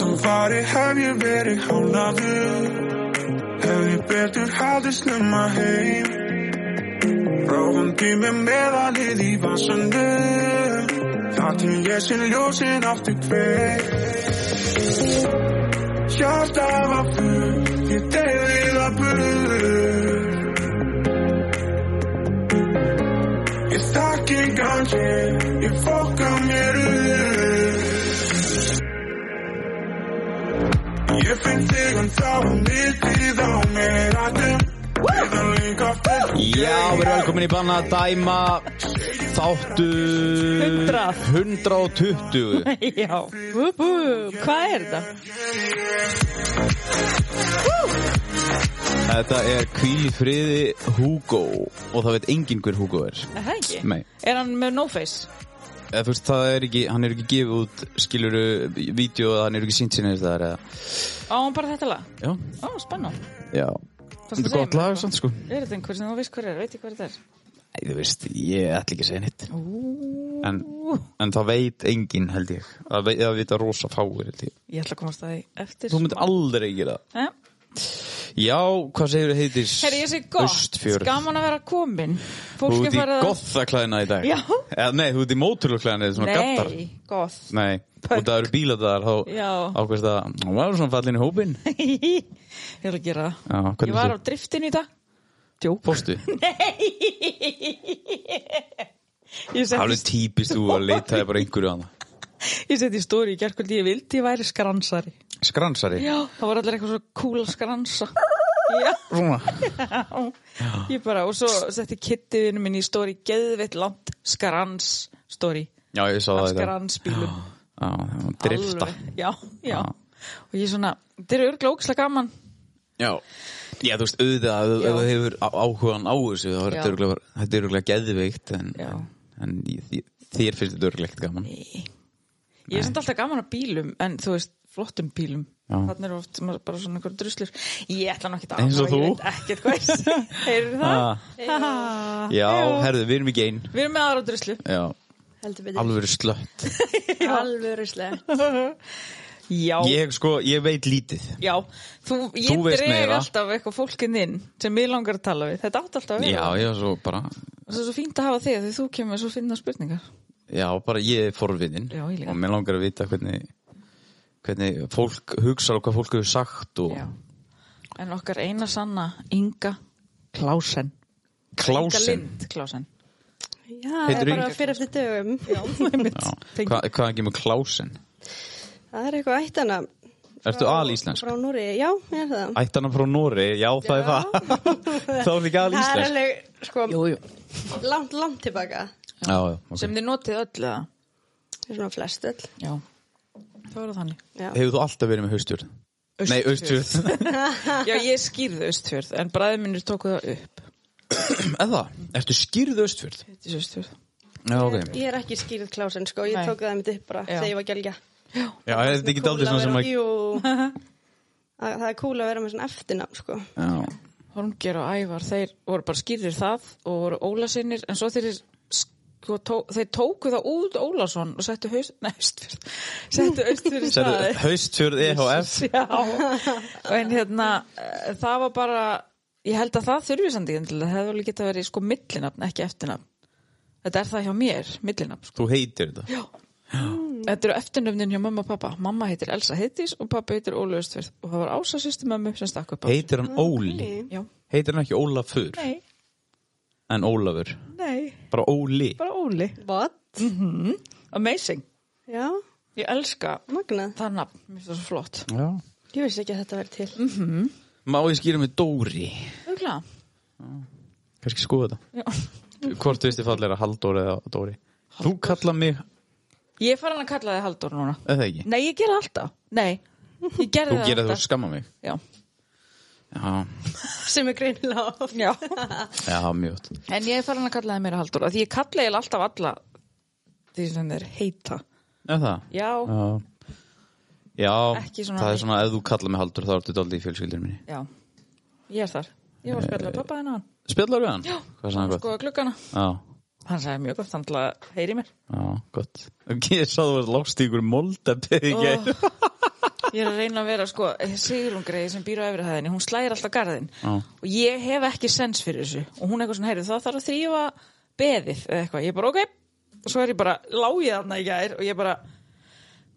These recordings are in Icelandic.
Nú farið hef ég verið hálafur Hef ég betur haldið snemma heim Róðum tími meðalið í vasandu Þar til ég sinn ljósin aftur kveik Hjarta var fullt, ég deyði það burt Ég þakki gangi, ég fokka mér upp Ég finn þig en þá er mittið á mér aðum Eða líka fullt Já, við erum velkomin í banna að dæma þáttu 100. 120 Já, upp, upp, hvað er þetta? Þetta er Kvíl í friði Hugo og það veit enginn hver Hugo er Er það ekki? Nei. Er hann með no face? Eða, þú veist, það er ekki, hann er ekki gefið út skiluru vídeo að hann er ekki sínt sinni það er eða, Á hann bara þetta lag? já, Ó, spennan já Þetta er gott lag samt sko Er þetta einhver sem þú veist hver er, veit ég hver þetta er? Nei, þú veist, ég ætla ekki að segja nýtt Ú, en, en það veit enginn held ég það veit, það veit að rosa fáir held ég Ég ætla að komast að því eftir Þú myndir aldrei gera það Eh? Já, hvað segir heitir Herri, ég sé gott, Austfjörð? gaman að vera komin Þú ert Fólk er í farið að gothaklæðina í dag Já. Eða, Nei, þú ert í móturluklæðina Svona gattar Nei, gott Nei, Pönk. og það eru bílar þar Þá Já. ákveðst að Hún var svona fallin í hópin Ég ætla að gera það Já, hvernig Ég var á þú- driftinu í dag Djók Fórstu? Ég Það er alveg setti típist þú að leitaði bara einhverju annað ég setti í stóri í gerkvöldi ég vildi ég væri skransari Skransari Já, það var allir eitthvað svo kúla skransa Já, Svona ég bara Og svo setti kittiðinu minn í stóri geðveitt langt skrans stóri Já, ég sá það í dag. Skransbílum Já, það var drifta Alveg. Já, já Já. Og ég svona, þetta er örgla ókslega gaman Já Já, þú veist, auðvitað, ef- ef Já. þú hefur á- áhugan á þessu þá er Já. þetta örugglega bara- þetta er örgulega geðveikt en, Já. en, en ég- ég- þér finnst þetta örgulega ekkert gaman Nei. Ég er samt alltaf gaman að bílum en þú veist, flottum bílum Já. Þannig eru oft maður bara svona einhver druslur Ég ætla nú ekkert að Eins og ég þú. veit ekkert hvað ég segi. Heyrðu það? Ah. Ah. Já, herðu, við erum ekki ein Við erum með aðra druslu Já, Heldur betur. alveg slött Alvöru slett. Já, Ég sko, ég veit lítið já Þú, ég Þú veist dreg meira. alltaf eitthvað fólkin inn sem ég langar að tala við Þetta átt alltaf að vera Já, já, svo bara Og svo er svo fínt að hafa þig af því þú kemur með svo finna spurningar Já, bara ég er forviðin Já, ég líka. Og mér langar að vita hvernig hvernig fólk hugsar og hvað fólk hefur sagt og Já En okkar eina sanna, Inga Klásen Inga klásin Lind Klásen Já, Heitir það er Inga. bara fyrir eftir dögum. Já, Hva, Hvað er ekki með klásin? Það er eitthvað ættana. Ertu Frá- alíslensk? Frá Núri, já, ég er það. Ættan frá Nóri, já, það er það Þá er líka Það er alíslensk alveg, sko, Jú, jú langt, langt tilbaka. Já, já, ok Sem þið notið öll eða? Það er svona flest öll. Já, það var þannig. Já. Hefur þú alltaf verið með haustjörð? Nei, austjörð Já, ég skýrði austfjörð, en bræði minnir tóku það upp. Eða, ertu skýrð austjörð? Þetta er austfjörð. Já, ok Ég er ekki skýrð klásin, sko, ég Nei. tók það mitt upp bara Já. þegar ég var gelgja. Já, er þetta ekki daldið svona sem að Jú, það það er cool að vera með svona eftirnafn, sko. Já, Holmger og Ævar, þeir voru bara skýrðir það og voru Ólasinnir, en svo þeir, sko, tó, þeir tóku það út Ólason og settu haust, nei, austfjörð, settu austfjörð í Sættu, staði. haustjörð EHF Já, og en hérna, eh, það var bara, ég held að það þurfi samt ekki endilega, það hefði alveg getað verið sko millinafn, ekki eftirnafn. Þetta er það hjá mér, millinafn, Þú heitir þetta Mm. Þetta eru eftirnöfnin hjá mamma og pappa. Mamma heitir Elsa Heitis og pappa heitir Óli Östfjörð og það var Ása sýstu mömmu sem stakk upp á. Heitir hann Óli? Óli. Já. Heitir hann ekki Ólafur? Nei, En Ólafur? nei, Bara Óli? bara Óli. What? Amazing. Já, Ég elska magnað. það nafn, mér finnst það svo flott. Já. Ég vissi ekki að þetta verið til. Má ég skýra með Dóri? Þaukla. Kanski skoða þetta? Hvort veist þið fallir að Halldóri eða Dóri? Þú kalla mig, Ég er farin að kalla þið Halldór núna. eða ekki? Nei, ég gera alltaf. Nei, ég Þú gerði það gerir þú alltaf. skamma mig? Já. Já, Sem er greinilega of. Já. já, mjög gott. En ég er farin að kalla þið mér Halldór af því ég kalla ég alltaf alla því sem þeir heita. Er það? Já. Já, já Ekki svona- það er svona ef þú kalla mig Halldór þá ertu daldið í fjölskyldur minni. Já. Ég er þar. Ég var að spjalla við pappa hennan. Spjallar við hann? Já. Hvað sagði hann gott? Skoða klukkana. Já, Hann sagði mjög gott, hann til að heyri mér. já, gott. Ég sá þú að lást í ykkur moldabið í gæð. ég er að reyna að vera sko Sigurlungreiði sem býr á efrihæðinni, hún slægir alltaf garðin Já. og ég hef ekki sens fyrir þessu og hún eitthvað svona, heyrðu, það þarf að þrýfa beðið eða eitthvað, ég er bara ok og svo er ég bara, lág ég þarna í gær og ég bara,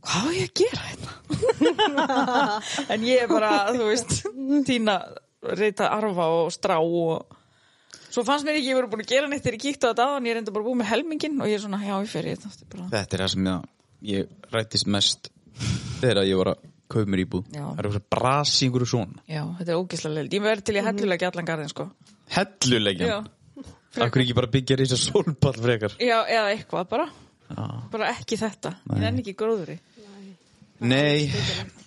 hvað á ég að gera hérna en ég er bara, þú veist tína, reyta arfa og strá og Svo fannst mér ekki, ég voru búin að gera neitt þegar ég kíkti á þetta á en ég reyndi bara að búið með helmingin og ég er svona, já, ég fer í þetta aftur bara. Þetta er það sem ég, ég rættist mest þegar ég var að kaupa mér íbúð. Já. Það er eitthvað brasi einhverju svona. Já, þetta er ógislega leil. Ég verði til ég hellulega allan garðin, sko. Hellulegjan. Akkur ekki bara byggja reysa sólpall frekar. Já, eða eitthvað bara. Já. Bara ekki þetta. Nei. En ekki gróðri. Nei,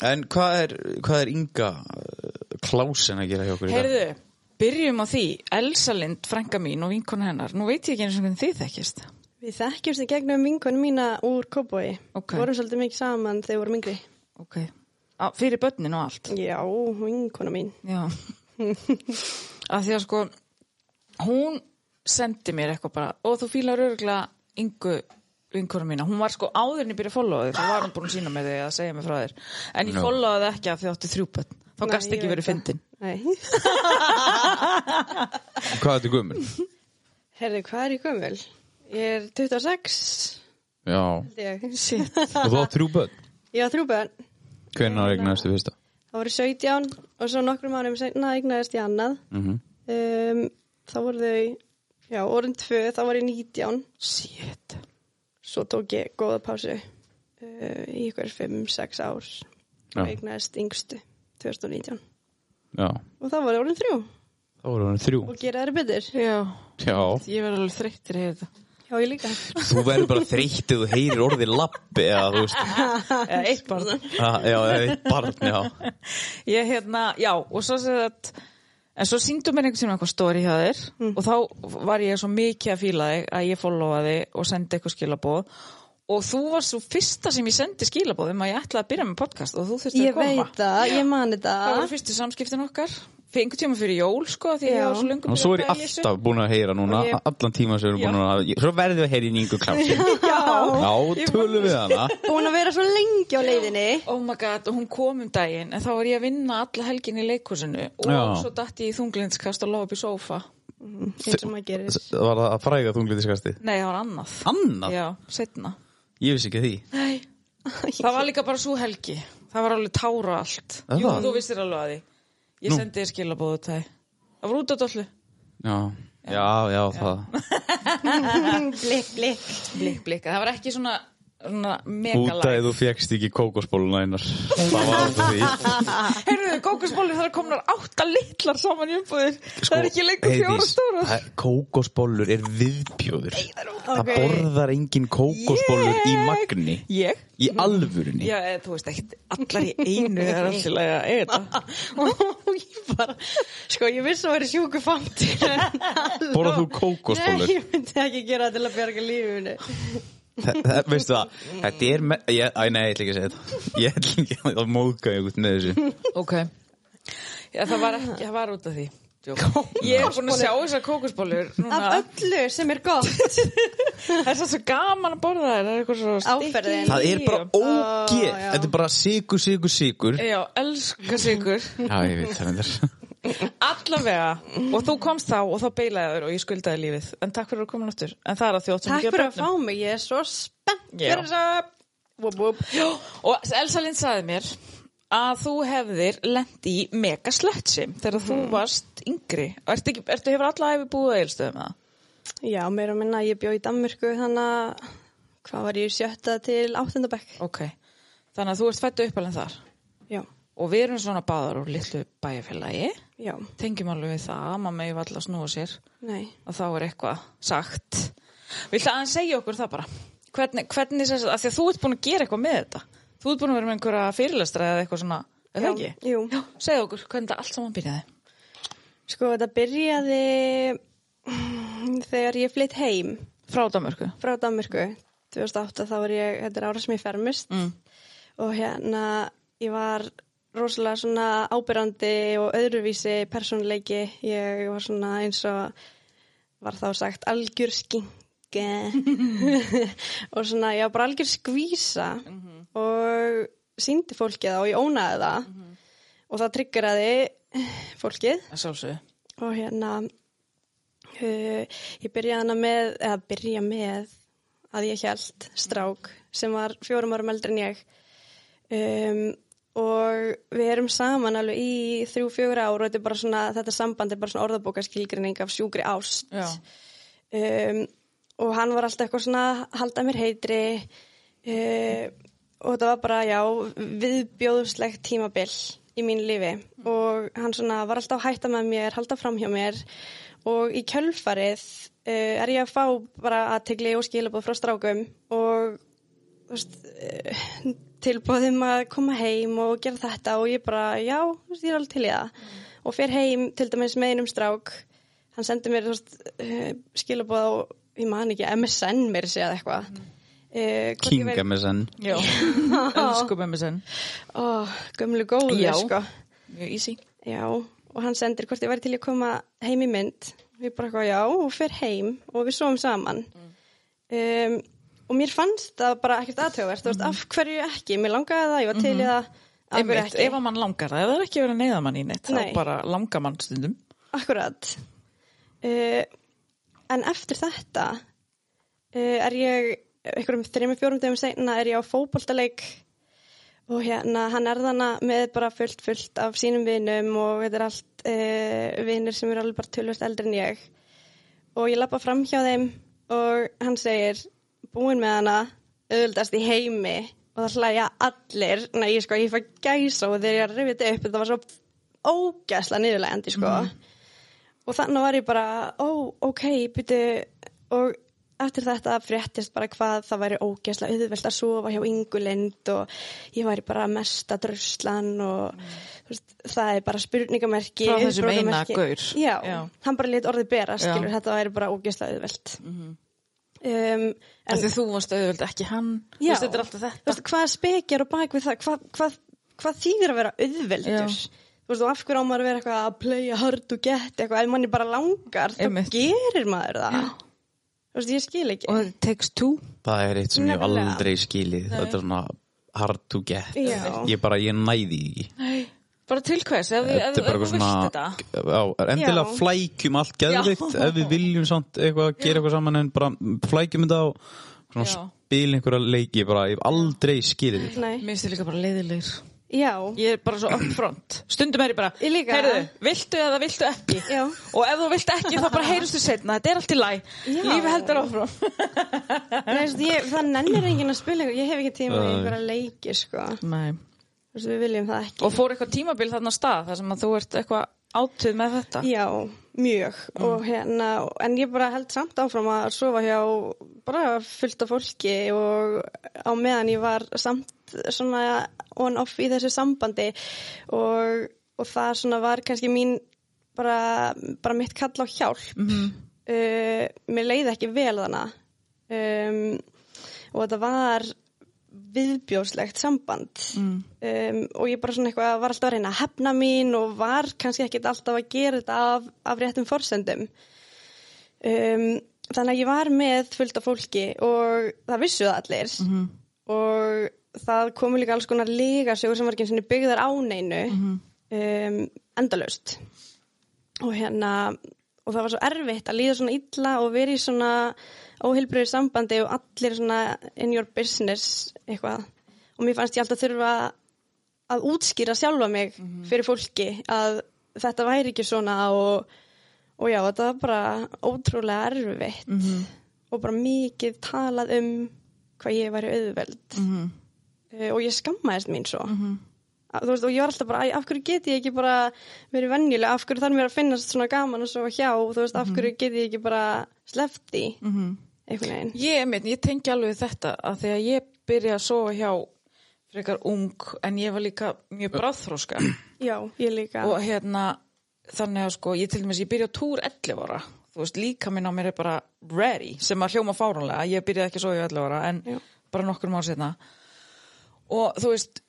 en hvað er, hvað er Inga eh, Klásen að gera hjá okkur í dag? Heyrðu, byrjum á því. Elsa Lind, frænka mín og vinkona hennar. Nú veit ég ekki eins og hvernig þið þekkist. Við þekkjumst í gegnum vinkunum mína úr Kópói. Ok. Vorum svolítið mikið saman þegar við vorum yngri. Ok. Á, fyrir börnin og allt. Já, vinkuna mín. Já. Af því að sko, hún sendi mér eitthvað bara og þú fílar öruglega yngu vinkonu mína. Hún var sko áðurinn ég byrja að followa þig, þá var hún búin að sína með þig að segja mig frá þér. En ég Nú. no. followaði þig ekki af því að þið áttu þrjú börn. Þá Nei, gast ég ekki veit verið það. fyndin. Nei. Hvað er þetta gömur? Herri, hvað er ég gömul? Ég er 26. Já, held Ég Shit. og þú átt þrjú börn. Ég á þrjú börn. Hvenær eignaðist þið fyrsta? Það voru 17 og svo nokkrum mánum senna eignaðist ég annað. Mm Um, þá voru þau, já, orðin tvö, þá var ég 19. Shit. Svo tók ég góða pásu uh, í ykkur 5-6 ár Já. og eignaðist yngstu 2019. Já, Og þá voru orðin þrjú þá voru hann þrjú. og gera þeirra betur. Já, Já, ég verði alveg þreyttir í þetta. Já, ég líka. þú verður bara þreytt ef þú heyrir orðið lappi eða þú veist. Eða eitt barn. Ah, Já, eða eitt barn, já. Ég hérna, já, og svo segði þetta, en svo síndum mér einhvern tíma eitthvað stóri hjá þér Mm. og þá var ég svo mikið að fíla þig að ég followaði og sendi eitthvað skilaboð og þú var svo fyrsta sem ég sendi skilaboð um að ég ætlaði að byrja með podcast og þú þurfti að Ég koma. veit það, ég man Það voru þetta. fyrstu samskiptin okkar, fyrir einhvern tíma fyrir jól sko, því ég Já. var svo löngu Og svo er ég alltaf búin að heyra núna, Og ég- allan tíma sem við erum búin að, svo verðum við að heyra í Ingu Klásen. Já, Já, tölum við hana. Búin að vera svo lengi á leiðinni. oh my god, og hún kom um daginn en þá var ég að vinna alla helgin í leikhúsinu og Já. svo datt ég í þunglindskast og lág upp í sófa Eins og maður gerir. Var það að fræga þunglitiskastið? Nei, það var annað Annað? Já, setna Ég vissi ekki af því. Það var líka bara svo helgi Það var alveg tára allt Er Jú, það? þú vissir alveg að því Ég Nú. sendi þér skilabóðu það Það var út af dollu Já, já, já, það. Blikk, blikk. Blik, blik, það var ekki svona, svona mega Út að lag þú fegst ekki kókosbóluna einar. Það var út af því. Heyrðu, kókusbólur, það er komnar átta litlar saman í umbúðir Það er ekki lengur fjóra Heiðdís, stóra Sko, það er- Kókosbollur er viðbjóður. Það Ok. borðar engin kókosbollur í magni. Ég? Í alvörunni. Já, eða, þú veist ekki, allar í einu Það er alltaf að eiga þetta Og ég bara, sko, ég vissi að vera sjúku fantir. Borðar þú kókosbollur? Nei, ég myndi ekki gera það til að berga lífinu. Það- það- Veistu það, þetta er me- ég- Æ, nei, ég ætla ekki að segja þetta Ég ætla ekki að að móðga ég út með þessu Ok Já, það var ekki, það var út af því Djók. Ég er búin að sjá þessar kókusbólur Af núna öllu sem er gott. Það er svo- svo gaman að borða þær, það er eitthvað svo Áferðin. sticky. Það er bara ógeð Ó, Ah, já. Þetta er bara sigur, sigur, sigur Já, elska sigur Já, ég veit það er Allavega, og þú komst þá og þá beilaði þér og ég skuldaði lífið En takk fyrir að koma náttúr En það er að þjótt sem Takk fyrir að fá mig, ég er svo spennt Já. fyrir þess að... Vup, vup. Og Elsa Lind sagði mér að þú hefðir lent í mega slötsi þegar þú Mm. varst yngri og ertu, ekki, ertu hefur alla æfi búið að eilstöðum eða? Já, meira að minna, ég bjó í Danmörku, þannig að... Hvað var ég í sjötta til áttundabæk? Ok, þannig að þú ert fættu uppalinn þar Já, og við erum svona báðar úr litlu bæjarfélagi já, tengjum alveg við það, maður megi valla snúa sér nei. og þá er eitthvað sagt Viltu aðeins segja okkur það bara hvernig, hvernig sem, að því að þú ert búin að gera eitthvað með þetta þú ert búin að vera með einhverja fyrirlestra eða eitthvað svona, er það Já, ekki? jú. Já, segja okkur hvernig það allt saman byrjaði Sko, þetta byrjaði mm, þegar ég flytt heim frá Danmörku frá Danmörku 2008, þá var ég, þetta er ára sem ég fermist Mm. og hérna ég var rosalega svona ábyrrandi og öðruvísi persónuleiki, ég var svona eins og var þá sagt algjör skinke Mhm. og svona ég var bara algjör skvísa og síndi fólki það og ég ónaði það Mhm. og það triggeraði fólkið að sjálfsögðu. og hérna uh, ég byrjaði hana með eða byrja með að ég held strák sem var fjórum árum eldri en ég um, og við erum saman alveg í þrjú, fjögur ár og þetta, er bara svona, þetta samband er bara svona orðabókaskilgrinning af sjúkri ást Já, um, og hann var alltaf eitthvað svona halda mér heitri uh, og þetta var bara já, viðbjóðslegt tímabil í mínu lífi og hann svona var alltaf að hætta með mér, halda fram hjá mér og í kjölfarið uh, er ég að fá bara aðtegli og skilabóð frá strákum og þú veist, eh, tilbúðum að koma heim og gera þetta og ég bara, já, þú veist, ég er alveg til í það og fer heim, til dæmis með einum strák hann sendi mér þú veist, eh, skilaboð á, ég man ekki MSN mér séð eitthvað mm. King MSN já. Elsku MSN. Ó, gömlu góðu, Já. sko Mjög easy. Já, og hann sendir hvort ég væri til að koma heim í mynd. Við bara eitthvað já og fer heim og við svoum saman. Mm. Um, og mér fannst það bara ekkert aðtöfvert, þú veist, Mm. af hverju ekki? Mér langaði það, ég var til í það, af Mm-hmm. hverju Einmitt, ekki? ef að mann langar það, ef það er ekki verið að neyða mann í neitt, Nei. þá bara langar mann stundum. Akkurat. Uh, en eftir þetta uh, er ég, einhverjum þreymur fjórum dögum seinna er ég á fótboltaleik og hérna hann er þarna með bara fullt fullt af sínum vinum og þetta er allt uh, vinir sem eru alveg bara tölvöld eldri en ég og ég lappa fram hjá þeim og hann segir búin með hana auðvildast í heimi og það hlæja allir nei, ég sko, ég fæ gæsa og þegar ég rifið þetta upp þetta var svo ógæsla niðurlegandi sko Mhm. og þannig var ég bara, ó, ok, byrju, og eftir þetta fréttist bara hvað það væri ógeðslega auðvelt að sofa hjá yngulind og ég væri bara mesta druslan og þú veist, það er bara spurningamerki, Frá þessum upprópunarmerki. eina gaur. Já, Já. hann bara lit orðið bera, Já. Mhm. skilur, þetta væri bara ógeðslega auðvelt. um, en En því þú varst auðvöld ekki hann, þú Já. veist, þetta er alltaf þú þetta. veist, hvað spekjar og bak við það, hvað, hvað, hvað þýðir að vera auðveldur? Já. Þú veist, og af hverju á maður að vera eitthvað að playa hard to get, eitthvað, ef manni bara langar, þá Einmitt. gerir maður það. Þú veist, ég skil ekki. Og þetta takes two. Það er eitt sem ég hef Nefnilega. aldrei skilið Þetta er svona hard to get Já. Ég bara, ég næði því ekki Bara til hvers, ef, ef, Þetta ef, er bara ef þú eitthvað vilt þetta. svona á, Endilega Já. flækjum allt geðvikt Ef við viljum samt eitthvað að gera eitthvað saman En bara flækjum þetta á Svona Já. spil einhverja leiki Ég bara, ég hef aldrei skilið þetta Nei, Mér finnst þið líka bara leiðilegur. já, Ég er bara svo upfront. Stundum er ég bara, Ég líka. heyrðu, viltu eða viltu ekki? Já. Og ef þú vilt ekki, þá bara heyrustu setna, þetta er allt í læ. Já. Lífi heldur áfram. Nei, þú veist, ég, það nennir enginn að spila, eitthvað. ég hef ekki tíma í Nei. einhverja leiki, sko. Nei. Þú veist, við viljum það ekki. Og fór eitthvað tímabil þarna af stað, þar sem að þú ert eitthvað átuð með þetta. Já, mjög og hérna, en ég bara held samt áfram að sofa hjá bara fullt af fólki og á meðan ég var samt svona on-off í þessu sambandi og, og það svona var kannski mín bara, bara mitt kall á hjálp uh, mér leiði ekki vel þannig um, og þetta var viðbjóðslegt samband um, og ég bara svona eitthvað var alltaf að reyna að hefna mín og var kannski ekkit alltaf að gera þetta af, af réttum forsendum um, þannig að ég var með fullt af fólki og það vissu það allir og það komu líka alls konar lígasögur sem var ekki einu sinni byggðar á neinu um, endalaust og hérna og það var svo erfitt að líða svona illa og vera í svona óheilbröðu sambandi og allir svona in your business eitthvað og mér fannst ég alltaf þurfa að útskýra sjálfa mig Mhm. fyrir fólki að þetta væri ekki svona og, og já, þetta var bara ótrúlega erfitt Mhm. og bara mikið talað um hvað ég væri auðveld Mhm. Eh, og ég skammaðist mín svo Að- þú veist, og ég var alltaf bara, "Æ, af hverju get ég ekki bara verið venjulega, af hverju þarf mér að finnast svona gaman og svo hjá, þú veist, Mhm. af hverju get ég ekki bara sleppt því -hmm. einhvern veginn, Ég, minn, ég tengi alveg við þetta að þegar ég byrja að sofa hjá frekar ung en ég var líka mjög bráðþróska já, ég líka og hérna þannig að sko ég til dæmis ég byrja á túr 11 ára þú veist líka minn á mér er bara ready sem að hljóma fáránlega ég byrjaði ekki að sofa hjá 11 ára en Já. bara nokkur mál setna og þú veist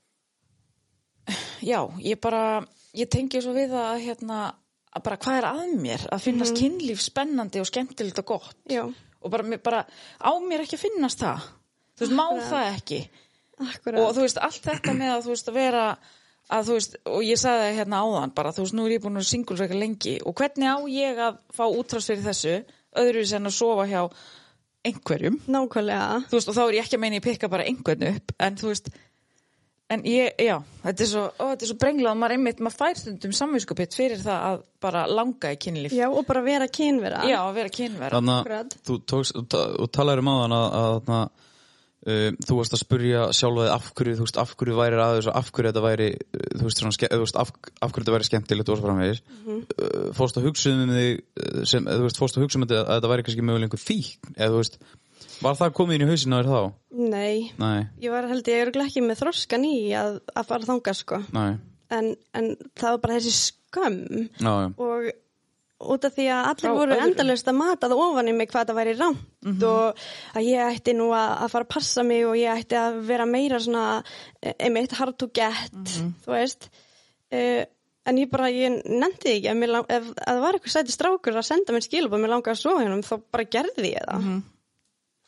já, ég bara ég tengi svo við að hérna að bara hvað er að mér að finnast kynlíf spennandi og skemmtilegt og gott Mhm. já, og bara, mér- bara á mér ekki að finnast það þú veist, má það ekki Akkurat. og þú veist, allt þetta með að þú veist að vera að þú veist, og ég sagði það hérna áðan bara, þú veist, nú er ég búin að singulreka lengi og hvernig á ég að fá útrás fyrir þessu öðruvísi en að sofa hjá einhverjum, Nákvæmlega. þú veist, og þá er ég ekki að meina ég pikka bara einhvern upp, en þú veist en ég, já, þetta er svo ó, þetta er svo brenglað, maður einmitt, maður fær stundum samvinskupið fyrir það að bara langa í kynlíf, Já, og bara vera kynvera. já að vera kynverð Þannig að Akkurat. þú tókst þú ta- og talaður um áðan að, að, að, uh, þú varst að spurja sjálfaði af hverju, þú veist, af hverju væri aðeins og af hverju þetta væri, uh, þú veist, svona, ske- þú veist af, af hverju þetta væri skemmtilegt og svo framvegis Mhm. uh, fórst að hugsa um þig uh, sem, eða, þú veist, fórst að hugsa um þetta að þetta væri kannski mögulega einhver fíkn, eða þú veist var það komið inn í hausinn á þér þá? Nei, Nei, ég var held ég örugglega ekki með þroskan í að, að fara þanga sko. nei, En, en það var bara þessi skömm já, já og út af því að allir Frá Mhm. voru öðrum. endalaust að matað ofan í mig hvað það væri rámt og að ég ætti nú að, að fara að passa mig og ég ætti að vera meira svona eh, einmitt hard to get Mhm. þú veist uh, en ég bara, ég nefndi því ekki ef, mér lang, ef að það var eitthvað sæti strákur að senda mér skilabóð, mér langaði að svo hennum þá bara gerði ég það Mhm.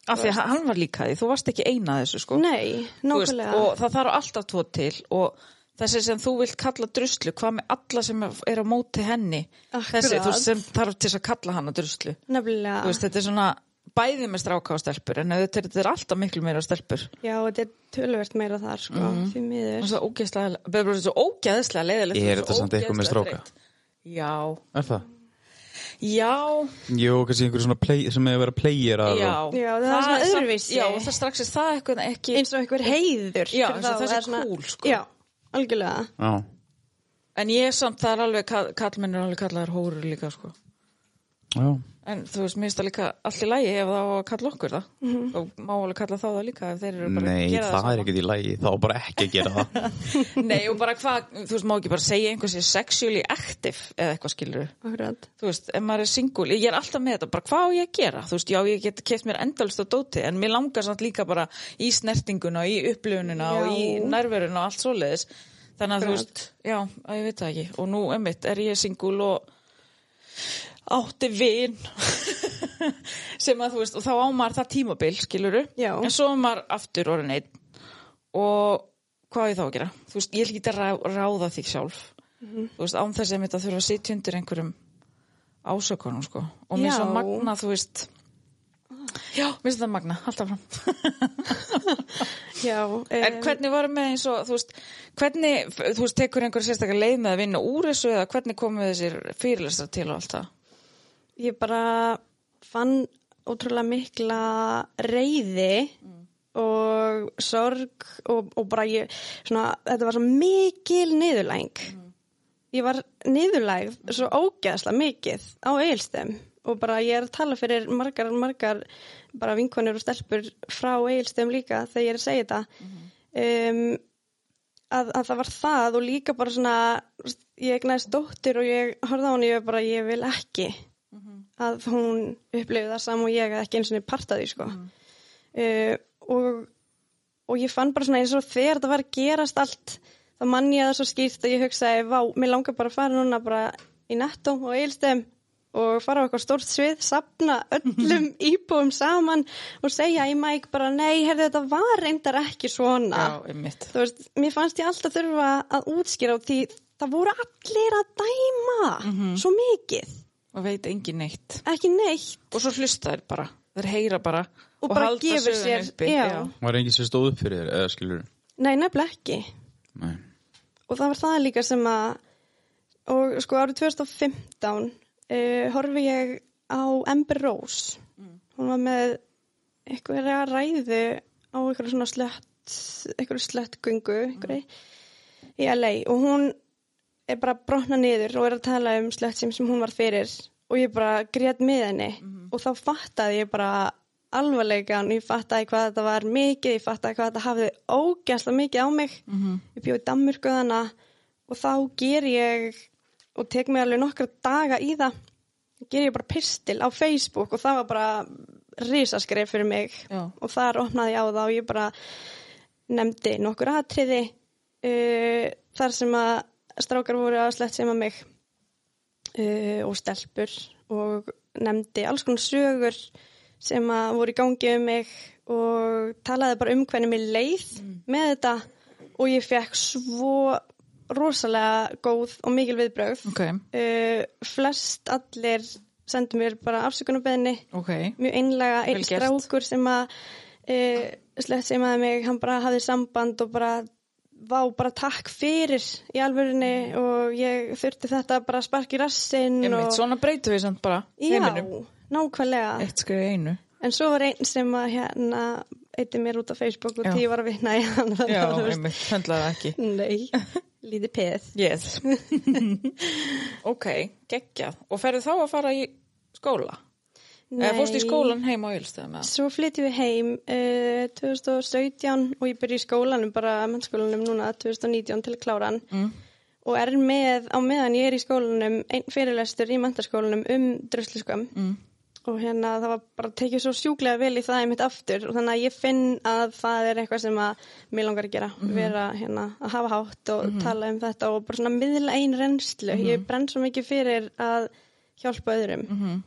af því að hann var líka því, þú varst ekki eina af þessu sko nei, Þú veist, nákvæmlega og það þarf alltaf tvo til og þessi sem þú vilt kalla druslu hvað með alla sem er á móti henni Akkurat. þessi þú veist, sem þarf til þess að kalla hana druslu nefnilega Þú veist, þetta er svona bæði með stráka og stelpur en þetta er, þetta er alltaf miklu meira stelpur já, þetta er tölvert meira þar sko, því miður Mhm. og svo ógeðslega, bara svo ógeðslega leiðilegt Er og svo þetta samt eitthvað með ógeðslega stráka? þreytt. Já, Er það? já, Jú, kannski einhver svona play, sem hefur verið að playera já Já, það er svona samt- öðruvísi. Já, og það strax er það eitthvað ekki eins og einhver heiður Já, fyrir eins og þá, það sé er svona- cool, sko. já, algjörlega já. en ég samt, það er alveg, kallmenn er alveg kallaðar hóru líka sko. já. En þú veist, minnst það líka allt í lægi ef það á að kalla okkur það. Mm Og má alveg kalla þá það líka ef þeir eru bara Nei, að gera það, það. er ekkert í lagi, þá bara ekki að gera það ekki. Nei, og bara hvað, þú veist, má ekki bara segja einhvers er sexually active eða eitthvað skilur. Akkurat. Þú veist, ef maður er single, ég er alltaf með þetta, bara hvað á ég að gera? Þú veist, já, ég get keft mér endalist á dóti, en mér langar samt líka bara í snertinguna, í upplifununa og Já. í nærveruna og allt svoleiðis. Þannig að þú Akkurat. veist, já, að ég veit það ekki. Og nú, emmitt, er ég single og átti vin sem að þú veist og þá á maður það tímabil, skiluru Já. en svo er maður aftur orðin einn og hvað á ég þá að gera? þú veist, ég vil ekki að rá, ráða þig sjálf þú veist, án þess að mitt að þurfa að sitja undir einhverjum ásökunum, sko og mér Já. svo magna, þú veist já, mér finnst það magna, alltaf fram Já, en em, hvernig var með eins og, þú veist hvernig, þú veist, tekur einhver sérstakar leið með að vinna úr þessu eða hvernig komu þessir fyrirlestar til og allt það? ég bara fann ótrúlega mikla reyði og sorg og, og bara ég, svona, þetta var svo mikil niðurlæng. Ég var niðurlægð svo ógeðslega mikið á eigilstem og bara ég er að tala fyrir margar, margar bara vinkonur og stelpur frá eigilstem líka þegar ég er að segja þetta. um, að, að það var það og líka bara svona ég egnaðist dóttir og ég horfði á hann og ég var bara ég vil ekki að hún upplifið það saman og ég að ekki eins og niður partaði sko uh, og, og ég fann bara svona eins og þegar það var að gerast allt þá mann ég það svo skýrt að ég hugsaði vá, mér langar bara að fara núna bara í netto og eilstem og fara á eitthvað stórt svið, sapna öllum íbúum saman og segja í mæk bara nei, herðu þetta var reyndar ekki svona Já, einmitt þú veist, mér fannst ég alltaf þurfa að útskýra á því það voru allir að dæma svo mikið, og veit engin neitt ekki neitt og svo hlusta þær bara, þær heyra bara og, bara halda gefur sögunni sér, uppi, já, Var enginn sem stóð upp fyrir þér, eða skilur nei nefnilega ekki Nei, og það var það líka sem að og sko árið 2015 uh, horfi ég á Amber Rose hún var með einhverja ræðu á einhverju svona slött einhverju slöttgöngu einhverju í LA og hún er bara að brotna niður og er að tala um slött sem, sem hún var fyrir og ég bara grét með henni og þá fattaði ég bara alvarleikan, ég fattaði hvað þetta var mikið, ég fattaði hvað þetta hafði ógæsla mikið á mig ég bjóði dammurku þarna og þá ger ég og tek mig alveg nokkra daga í það ger ég bara pistil á Facebook og það var bara risaskref fyrir mig Já. og þar opnaði ég á það og ég bara nefndi nokkur atriði uh, þar sem að strákar voru að slett sem að mig uh, og stelpur og nefndi alls konar sögur sem að voru í gangi um mig og talaði bara um hvernig mér leið með þetta og ég fekk svo rosalega góð og mikil viðbrögð. Ok, Uh, flest allir sendu mér bara afsökunarbeðinni ok, mjög einlega Vel einn gert. strákur sem að uh, slett sem að mig, hann bara hafði samband og bara vá bara takk fyrir í alvörunni og ég þurfti þetta bara að sparka í rassinn Mm. einmitt, og svona breytum við samt bara heiminum. já, nákvæmlega Eitt skrif í einu. en svo var einn sem að hérna eitti mér út á Facebook og Já. því ég var að vitna í hann þannig Já, að þú veist, einmitt, höndlaði það ekki. nei, lítið peð Yes. ok, geggjað. Og ferðu þá að fara í skóla? Eða Eh, fórstu í skólan heim á Ílstöðum? eða? Svo flyttum við heim uh, 2017 og ég byrja í skólanum, bara mennskólanum núna 2019 til að klára hann mm. og er með, á meðan ég er í skólanum, einn fyrirlestur í menntaskólanum um drusliskum mm. og hérna það var bara tekið svo sjúklega vel í það einmitt aftur og þannig að ég finn að það er eitthvað sem að mér langar að gera, vera hérna að hafa hátt og tala um þetta og bara svona miðla ein reynslu, ég brenn svo mikið fyrir að hjálpa öðrum.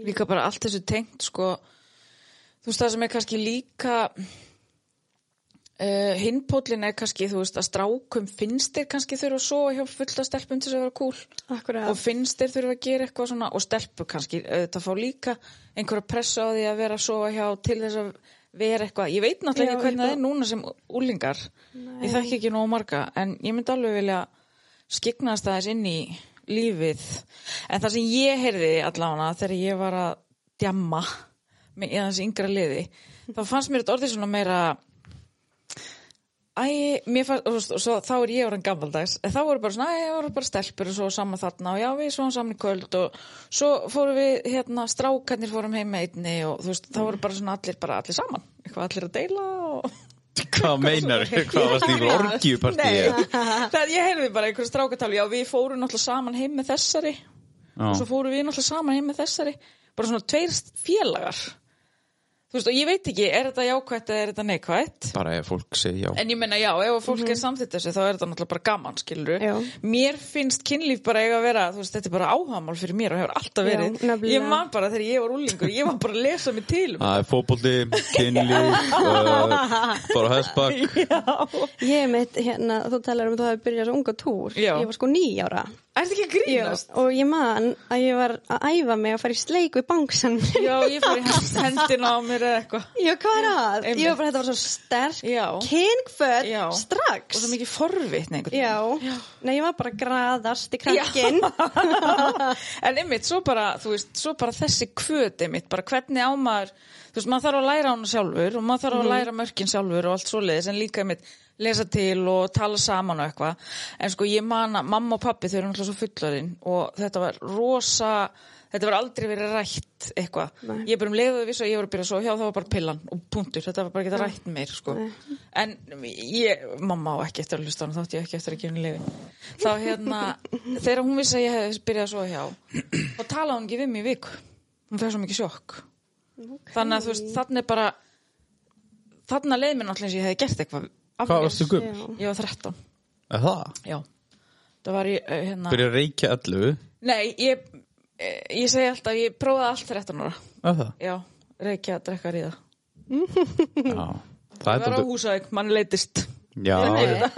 líka bara allt þessu tengt sko, þú veist það sem er kannski líka uh, hinpóllin er kannski þú veist að strákum finnst þeir kannski þurfa að sofa hjá fulla stelpum til þess að vera cool Akkurat. og finnst þeir þurfa að gera eitthvað svona og stelpur kannski, þetta fá líka einhverja pressa á því að vera að sofa hjá til þess að vera eitthvað, ég veit náttúrulega Já, ekki hvernig ég það er núna sem úlingar ég þekki ekki nógu marga en ég myndi alveg vilja skiknast aðeins inn í lífið en það sem ég heyrði allána þegar ég var að djamma með í þessi yngra liði þá fannst mér þetta orðið svona meira Æ, mér fannst, og, og, svo, þá er ég orðin gammaldags, en þá voru bara svona, æ, ég voru bara stelpur og svo saman þarna og já, við svo saman í kvöld og svo fórum við, hérna, strákarnir fórum heim með einni og þú veist, þá voru bara svona allir, bara allir saman, eitthvað allir að deila og... Hvað meinar, hvað varst í einhver orgiupartíð? Nei, það ég heyrði bara einhver strákatáli, já, við fórum náttúrulega saman heim með þessari og svo fórum við náttúrulega saman heim með þessari, bara svona tveir félagar. Þú veist, og ég veit ekki, er þetta jákvætt eða er þetta neikvætt? Bara ef fólk segi já. En ég meina já, ef að fólk er samþýtt þessu þá er þetta náttúrulega bara gaman, skilur Mhm. Já. Mér finnst kynlíf bara eiga að vera, þú veist, þetta er bara áhagamál fyrir mér og hefur alltaf Já, verið nefnilega. Ég man bara þegar ég var úlingur, ég var bara að lesa mig til um Það er fótbolti, kynlíf, uh, bara hestbakk. Já, Ég mitt, hérna, þú talar um að þú hafi byrjað svo unga túr. Já. Ég var sko nýjára. er þetta ekki að grínast? Og ég man að ég var að æfa mig að fara í sleik við bangsan. Já, ég fór í hans- hendina á mér eða eitthvað Já, hvað er að? einmitt. Ég var bara, þetta var svo sterk Já. kynkvöld Já. Og strax. svo mikið forvitni einhvern Já. Nei, ég var bara að graðast í krakkinn. en einmitt, svo bara, þú veist, svo bara þessi kvöt einmitt, bara hvernig á maður þú veist, maður þarf að læra hana sjálfur og maður þarf að læra mörkin sjálfur og allt svoleiðis en líka einmitt lesa til og tala saman og eitthvað, en sko ég man að mamma og pappi þau eru náttúrulega svo fullarinn og þetta var rosa þetta var aldrei verið rætt eitthvað Nei. ég bara um leiðu viss að ég voru að byrja að svo hjá það var bara pillan og punktur, þetta var bara ekki rætt meir sko. en ég, mamma á ekki eftir að hlusta hann, þátt ég ekki eftir að gefa henni leiði þá hérna, þegar hún vissi að ég hefði byrjað að svo hjá þá talaði hún ekki við mig í viku hún fær svo mikið sjokk þannig að þú veist, þannig bara þannig að leiði mér náttúrulega eins og ég hefði gert eitthvað Hvað varstu Sko. gumm? Já. Ég var 13, Er það? já það var ég, eh, hérna Byrja að reykja allu. Nei, ég, eh, ég segi alltaf, ég prófaði allt 13 ára Er það? Já, reykja að drekka ríða Já. Það Það er var á dálítið. húsæk, mann leitist Já. En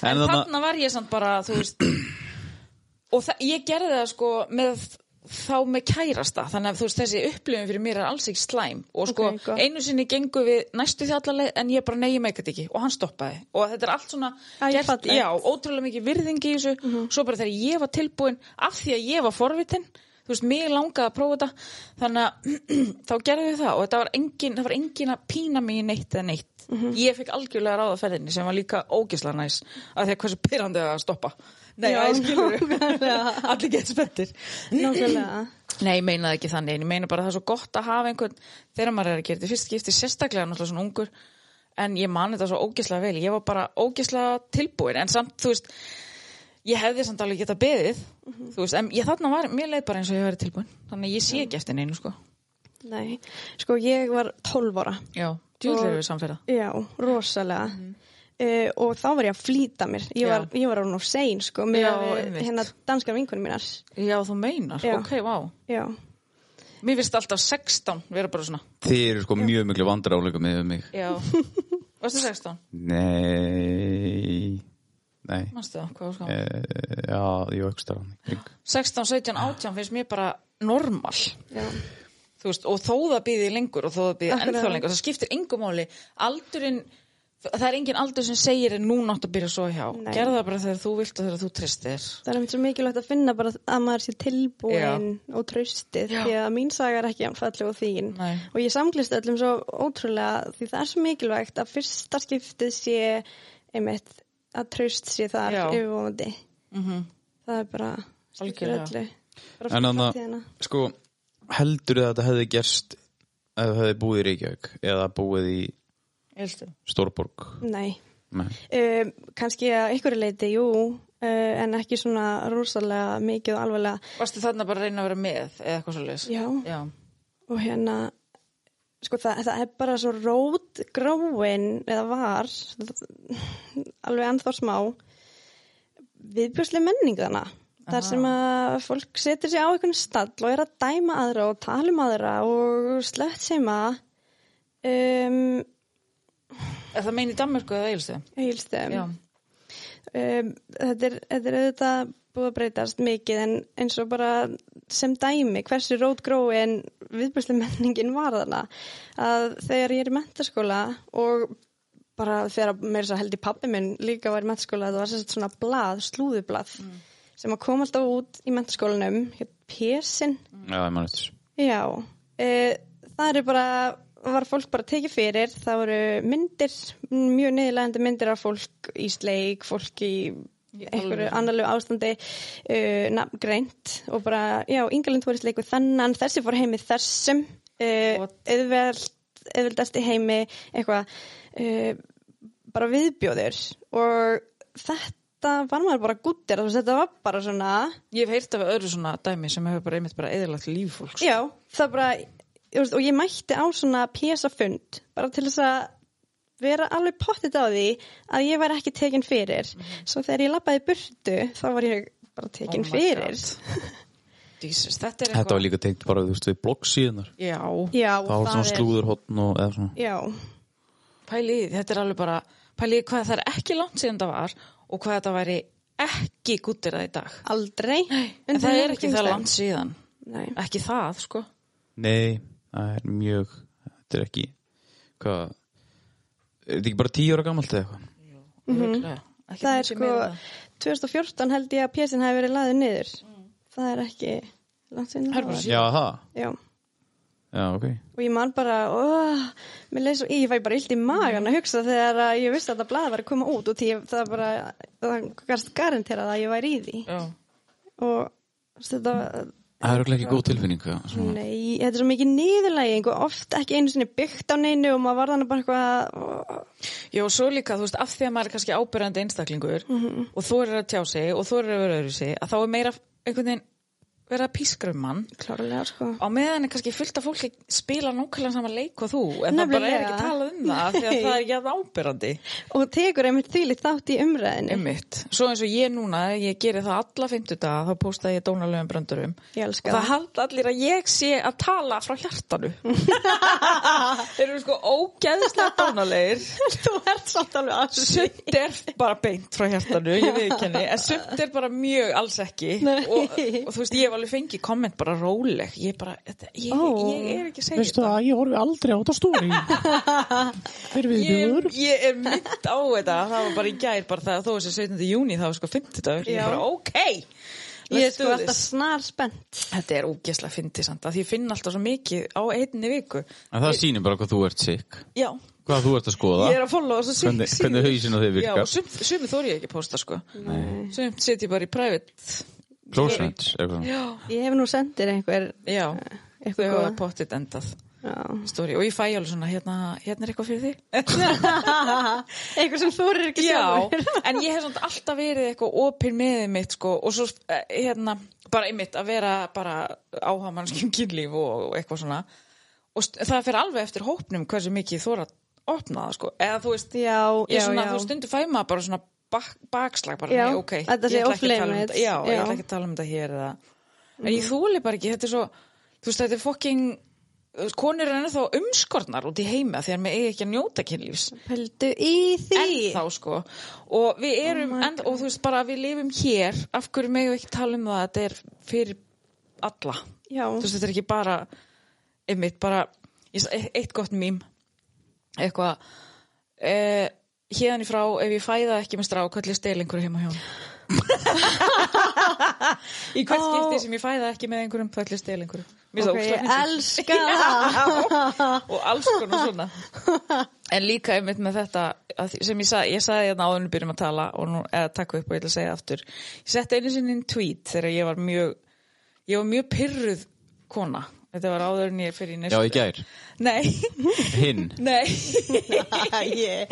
Þarna þannig var ég samt bara, þú veist Og það- ég gerði það sko með þá með kærasta þannig að þú veist þessi upplifun fyrir mér er alls ekki slæm og sko Ok, gott. einu sinni gengu við næstu þjallaleið en ég bara neyjum eitthvað ekki og hann stoppaði og þetta er allt svona Æ, fallegt. Mhm. já, ótrúlega mikið virðingi í þessu svo bara þegar ég var tilbúin af því að ég var forvitin þú veist, mig langaði að prófa þetta þannig að þá gerðum við það og þetta var engin, það var engin að pína mig í neitt eða neitt Mhm. ég fekk algjörlega ráða ferðinni sem var líka ógisla næs af því að hversu pyrrandi að stoppa nei, Já, já, skilur allir gett spettir Nákvæmlega. Nei, ég meina það ekki þannig, en ég meina bara að það er svo gott að hafa einhvern þegar maður er að gera þetta í fyrst skipti sérstaklega náttúrulega svona ungur en ég man þetta svo ógislega vel, ég var bara ógislega tilbúin, en samt, þú veist ég hefði samt alveg geta beðið þú veist, en ég þarna var, mér leið bara eins og ég verið tilbúin, þannig að ég sé ekki eftir neinu sko, Nei, sko ég var 12 ára. já, djúðlega við samferða Já, rosalega. Mm Mhm. og þá var ég að flýta mér. Ég var, ég var án of sein, sko, með Já, að við- einmitt. hérna danskar vinkunum mínar. Já, þú meinar, Já. ok, vá Já. Mér finnst alltaf 16 vera bara svona Þið eru sko mjög miklu vandraráleika með mig Já Varstu 16? Nei Nei Manstu það? Hvað var e, skáðan? Já, jú, ekki stara 16, 17, 18 finnst mér bara normal Já. Þú veist, og þó það býði lengur og þó það býði Akkurat. ennþá lengur það skiptir engum máli aldurinn það er engin aldur sem segir en núna átt að byrja svo hjá Nei. gerða það bara þegar þú vilt og þegar þú tristir Það er einmitt svo mikilvægt að finna bara að maður sé tilbúin og traustið Já. því að mín saga er ekki anfalleg og þín. Nei. Og ég samglist öllum svo ótrúlega því það er svo mikilvægt að fyrsta skiptið sé einmitt að traust sé þar Já. yfirvóndi. Mhm. Það er bara skiptir Algjörlega. öllu. Bara En fyrir annað- framtíðina. Sko, heldur þið að þetta hefði gerst ef þið hefði búið í Reykjavík eða búið í Elstu. Stórborg Nei. Nei. Um, kannski að einhverju leiti, jú, uh, en ekki svona rosalega mikið og alvarlega. varstu þarna bara að reyna að vera með eða eitthvað svo leis Já. Já. og hérna sko það, það er bara svo rót gróin eða var alveg ennþá smá viðbjörslega menningana þar sem að fólk setur sig á einhvern stall og er að dæma aðra og tala um aðra og slett sem að um, Er það meina í Danmörku eða Eilstu heilstum Já. um, þetta, er, þetta er auðvitað búið að breytast mikið en eins og bara sem dæmi hversu rótgróin viðbjörnslega menningin var þarna að þegar ég er í mentaskóla og bara þegar mér svo held í pappi minn líka var í mentaskóla það var sérst svona blað, slúðublað sem að kom alltaf út í mentaskólanum hér pésin Já, ég mann eftir Já, e, það eru bara, var fólk bara tekið fyrir, það voru myndir, mjög niðurlegandi myndir af fólk í sleik, fólk í Í einhverju alvöru. annarlegu ástandi, uh, nafngreint og bara, já, Ingaland voru í sleiku þannan, þessi fór heimi þessum, uh, What? auðveld, auðveldast í heimi, eitthvað, uh, bara viðbjóður og þetta var maður bara gúttir, þú veist, þetta var bara svona... Ég hef heyrt af öðru svona dæmi sem hefur bara einmitt bara eðalagt líf fólks Já, það bara, ég veist, og ég mætti á svona pjæsafund, bara til þess að vera alveg pottit á því að ég væri ekki tekin fyrir. Svo þegar ég labbaði í burtu, þá var ég bara tekin Mhm. Oh my fyrir. Jesus, þetta er Þetta var líka tengt bara, þú veist, við bloggsíðunar Já, Já, Það var svona er- slúðurhotn og eða svona Já, pæliði, þetta er alveg bara pæliði hvað það er ekki langt síðan það var og hvað þetta væri ekki gúttir það í dag aldrei. en það er ekki það langt síðan Nei, ekki það, sko Nei, það er mjög Þetta er ekki Hvað Er þetta ekki bara tíu ára gamalt eða eitthvað? Örugglega. Ekki Mhm. það er mikið sko, meira en það. 2014 held ég að pjæsin hafi verið laðið niður. Mm. Það er ekki langt sinni. Það er bara Já, það? Já. Já, ok og ég man bara oh, mér leið svo, ég fæ bara illt í magan að hugsa þegar að ég vissi að þetta blað var að koma út og því ég, það bara það gæst garanterað að ég væri í því Já. og þetta Það er örugglega ekki góð tilfinning já, svona. nei, þetta er svo mikið niðurlæging og oft ekki einu sinni byggt á neinu og maður var þannig bara eitthvað oh, Já, og svo líka, þú veist, af því að maður er kannski ábyrjandi einstaklingur Mhm. og þú eru að tjá sig og þú eru að vera öðru sig, að þá er meira einhvern veginn vera að pískra um mann klárlega sko á meðan er kannski fullt af fólki spila nákvæmlega sama leik og þú en það bara er Nefnilega. ekki talað um það af því að Nei. það er ekki að ábyrjandi og tekur einmitt þvílið þátt í umræðinu Einmitt. Svo eins og ég núna, ég geri það alla 50 daga, þá posta ég dónalöfum bröndurum. Ég elska Og það það. halda allir að ég sé að tala frá hjartanu. Þeir eru sko ógeðslega dónalegir. þú ert svolítið alveg aðsveit Sumt er bara beint frá hjartanu, ég viðkenni, en sumt er bara mjög alls ekki. Nei. Og, og þú veist, ég hef alveg fengið komment bara róleg. Ég bara, þetta, ég, Ó. ég er ekki að segja þetta. það, ég horfi aldrei á þetta stóri Fyrir Ég, ég er mynd á þetta það var bara í gær, bara það þó þessi 17. júni það var sko 50 dagur, ég Já. bara ok ég er let's sko do alltaf this. snar spennt Þetta er ógesla fyndið samt að ég finn alltaf svo mikið á einni viku. En það sýnir bara hvað þú ert sikk Já, Hvað þú ert að skoða ég er að followa þessu síðu. Hvernig- hvernig hausinn á þér virkar. Já, og sum, sumi þóri ég ekki að posta sko. Nei. Sumt set ég bara í private. Close friends, eitthvað svona. ég hef nú sendir einhver Já, þau eitthvað hafa góða. pottit endað Já. story og ég fæ alveg svona hérna, hérna er eitthvað fyrir þig. eitthvað sem þú eru ekki Já, sjálfur en ég hef svona alltaf verið eitthvað opinn meðið mitt sko og svo eh, hérna bara einmitt að vera bara áhamannskjum kynlíf og og eitthvað svona og st- það fer alveg eftir hópnum hversu mikið þóra opna það sko eða þú veist já, ég já, er svona, já. þú stundu fæ maður bara svona bak, bakslag bara, Já, nei, ok, ég þetta sé ætla ekki að tala um off-limits, þetta já, ég já. Mm. ætla ekki að tala um þetta hér eða, en ég þóli bara ekki, þetta er svo þú þú veist, þetta er fucking þú veist, konur er ennþá umskornar út í heima því að með eigi ekki að njóta kynlífs Pældu í því ennþá sko og við erum, Oh my enn, og þú veist bara við lifum hér, af hverju megum við ekki tala um það að þetta er fyrir alla Já. þú veist þetta er ekki bara einmitt bara, ég sá e- eitt gott mím eitthvað eh, hérna í frá ef ég fæða ekki með strák, hvernig stel einhverju heima hjá honum? í hvert Ó. skipti sem ég fæða ekki með einhverjum hvernig stel einhverju Mér finnst það ógeðslega Ok, fyndið ég elska það og alls konar svona en líka einmitt með þetta að því- sem ég sagði, ég sagði hérna áðunum byrjum að tala og nú, eða takk upp og ég ætla að segja aftur ég setti einu sinni inn tweet þegar ég var mjög ég var mjög pyrruð kona þetta var áður en ég fyrir Já, í neyslu í gær. nei, Hinn. nei yeah.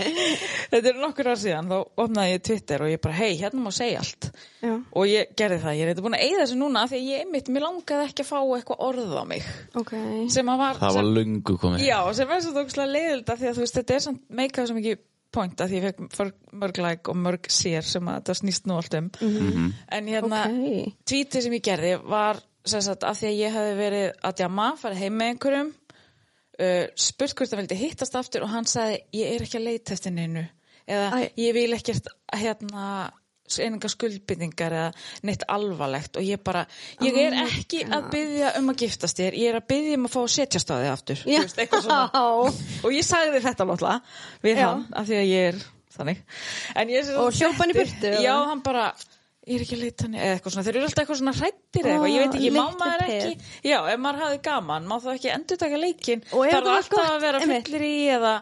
þetta er nokkur ár síðan þá opnaði ég Twitter og ég bara hei, hérna má segja allt Já, og ég gerði það, ég er eitthvað búin að eyða þessu núna af því að ég einmitt, mér langaði ekki að fá eitthvað orð á mig ok sem að var, Það sem- var lungu komið. Já, sem er svo tókslega leiðild af því að þú veist, þetta er samt meikað svo mikið point af því ég fekk mörg, mörg like og mörg sér sem að þetta snýst nú allt um en hérna, Mhm. Ok. tweetið sem ég gerði var sem sagt af því að ég hefði verið að djama, farið heim með einhverjum uh, spurt hvort það vildi hittast aftur og hann sagði, ég er ekki að leita eftir neinu eða Æ. ég vil ekkert hérna eininga skuldbindingar eða neitt alvarlegt og ég bara, ég er Oh my ekki að byggja um að giftast þér, ég er að byggja um að fá að setja staðið aftur Já. Þú veist, eitthvað svona og ég sagði þetta náttúrulega við Já. hann, af því að ég er þannig en ég sem Og sagt hljóp hann í setti- burtu, eða? já, hann bara, ég er ekki að leita hann eða eitthvað svona, þeir eru alltaf eitthvað svona hrættir eða eitthvað, ég veit ekki, Ó, má maður little ekki já, ef maður hafi gaman, má það ekki endur taka leikin Og ef þarf það var alltaf gott, að vera einmitt. fullir í eða,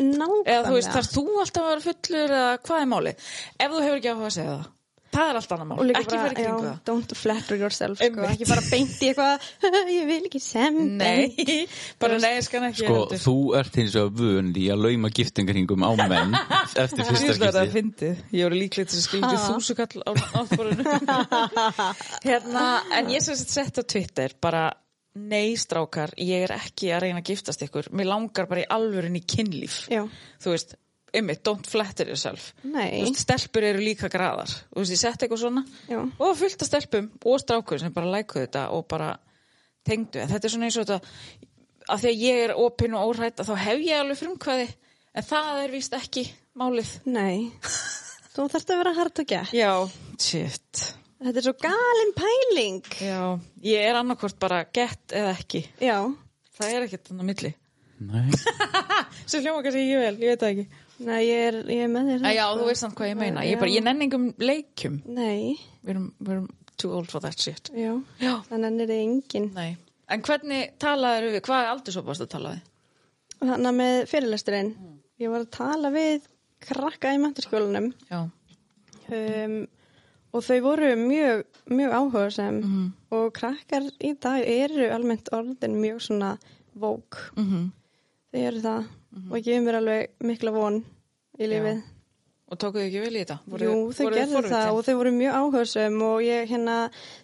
Nákvæmlega eða þú veist, þarf þú alltaf að vera fullur eða hvað er málið, ef þú hefur ekki áhuga að segja það það er allt annað Og mál, líka ekki fara í já, kringu það Don't flatter yourself sko. Einmitt. Ekki bara beint í eitthvað Ég vil ekki sem nei, bara nei, ég skal ekki Sko, heldur. þú ert hins vegar vönd í að lauma giftingaringum á menn eftir fyrsta Sýrst var það að skipti. fyndið. Ég voru líklegt þess að skildi Ha. þúsukall á náttborinu. hérna, en ég sem sett sett á Twitter bara, nei strákar, ég er ekki að reyna að giftast ykkur. Mér langar bara í alvörin í kynlíf. Já. Þú veist, ymmið, don't flatter yourself. Nei. Þú veist, stelpur eru líka graðar. Þú veist, ég sett eitthvað svona. Já. Og fullt af stelpum og strákur sem bara lækuðu þetta og bara tengdu. En Þetta er svona eins og þetta, að því að ég er opinn og órætt þá hef ég alveg frumkvæði. En það er víst ekki málið. Nei Þú þarft að vera hard og gett Já, shit Þetta er svo galin pæling Já, ég er annarkvort bara gett eða ekki Já Það er ekkert þannig á milli Nei, Sem hljóma kannski ekki vel, ég veit það ekki Nei, ég er, ég er með þér Já, þú veist hann hvað ég meina Ég, Já. bara, ég nenni engum leikjum Nei, Við erum, við erum too old for that shit já Já, Þannig er þið engin nei En hvernig talaður við, hvað er aldrei svo bást að talaði? Þannig með fyrirlesturinn Ég var að tala við krakka í menturskólanum Já, um, og þau voru mjög, mjög áhugasem og krakkar í dag eru almennt orðin mjög svona vók, mhm þau eru það og gefur mér alveg mikla von í lífið. Og tókuðu ekki vel í þetta? Jú, þau gerðu það og þau voru mjög áhugasem og ég hérna,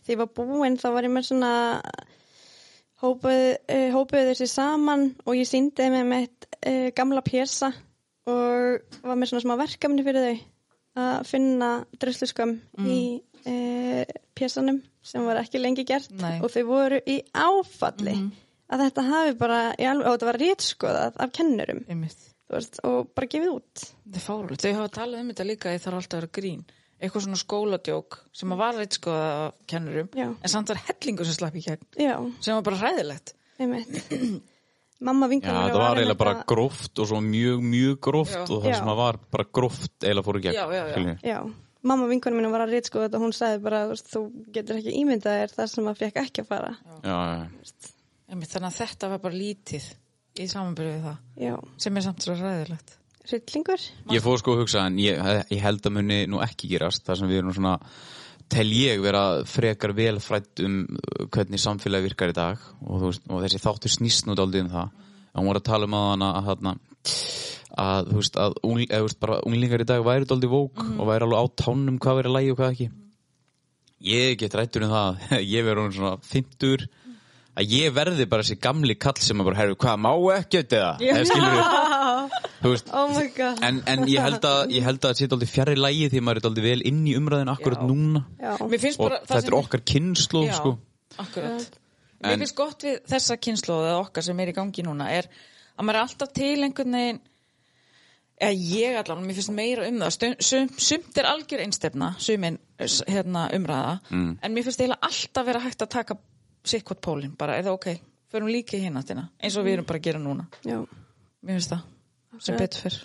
þegar ég var búin þá var ég með svona hópaði, eh, hópaði þessi saman og ég síndi þeim með mitt eh, gamla pjessa og var með svona smá verkefni fyrir þau að finna drusluskam í eh, pjessanum sem var ekki lengi gert Nei. og þau voru í áfalli að þetta hafi bara, í alveg, og þetta var rétskoðað af kennurum Einmitt. þú veist, og bara gefið út Þetta er fárulegt. Þau hafa talað um þetta líka að það er alltaf að vera grín. Eitthvað svona skóladjók sem að var reitt skoða af kennurum Já. en samt var hellingur sem slapp í gegn Já, sem var bara hræðilegt. einmitt Mamma já, vinkanur það var eiginlega bara gróft og svo mjög, mjög gróft Já. og það Já. sem að var bara gróft eiginlega fór í gegn. Já, já, já. skilurðu. Já, mamma vinkunum minna var að rýt sko þetta og hún sagði bara, þú veist, þú getur ekki ímyndað þér þar sem að fekk ekki að fara. Já, já. Einmitt, þannig að þetta var bara lítið í samanbyrju við það Já, sem er samt svo hræðilegt. hryllingur. Ég fór sko að hugsa en ég, ég held að muni nú ekki gerast þar sem við erum svona tel ég vera frekar velfrætt um uh, hvernig samfélagi virkar í dag og, þú veist, og þessi þáttur snýst nú daldið um það en hún var að tala um að hana að, hana, að þú veist að ungl, eða, þú veist, bara, unglingar í dag væri daldið vók og væri alveg á tánum hvað verið lægi og hvað ekki ég get rættur um það ég verður hún svona 50 að ég verði bara þessi gamli kall sem að bara herru hvað má ekkert eða eða skilur þú veist Oh my god. en, en ég held að ég held að þetta sé aldrei fjarrri lægi því maður er aldrei vel inn í umræðin akkurat Já. núna Já, Mér finnst og bara þetta er okkar kynnslóð Já, sko. akkurat. Mér En- finnst gott við þessa kynnslóð eða okkar sem er í gangi núna er að maður er alltaf til einhvern veginn eða ég allan, mér finnst meira um það Stund- sum, sumt er algjör einstefna sumin s- hérna, umræða Mm. en mér finnst eiginlega alltaf vera hægt að taka sikkvot pólinn, bara er það ok förum líka hérna áttina, eins og við erum bara að gera núna já, mér finnst það, sem Absolutt. betur fyrr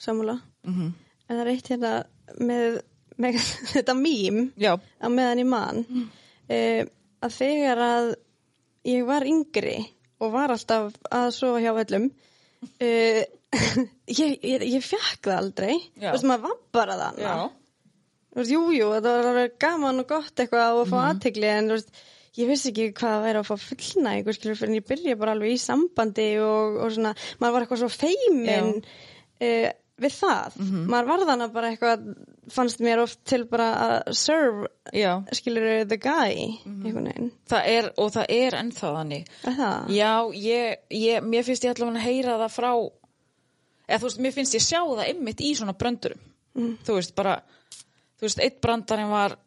samúla en það er eitt hérna með, með þetta mím já, á meðan ég man mm. að þegar að ég var yngri og var alltaf að sofa hjá öllum uh, ég, ég, ég fekk það aldrei Já. þú veist maður var bara þannig já, Þú veist, Jú, jú, þetta var alveg gaman og gott eitthvað og að fá Mm. aðtegli en þú veist, ég vissi ekki hvað það væri að fá fullnæg skilur, fyrir en ég byrja bara alveg í sambandi og, og svona, maður var eitthvað svo feimin uh, við það Mhm. maður var þannig bara eitthvað fannst mér oft til bara að serve já. skilur the guy Mhm. einhvern veginn, Það er, og það er ennþá þannig er það? Já, ég, ég, mér finnst ég allavega að heyra það frá eða þú veist, mér finnst ég sjá það einmitt í svona bröndurum Mm. þú veist, bara þú veist, eitt brandarinn var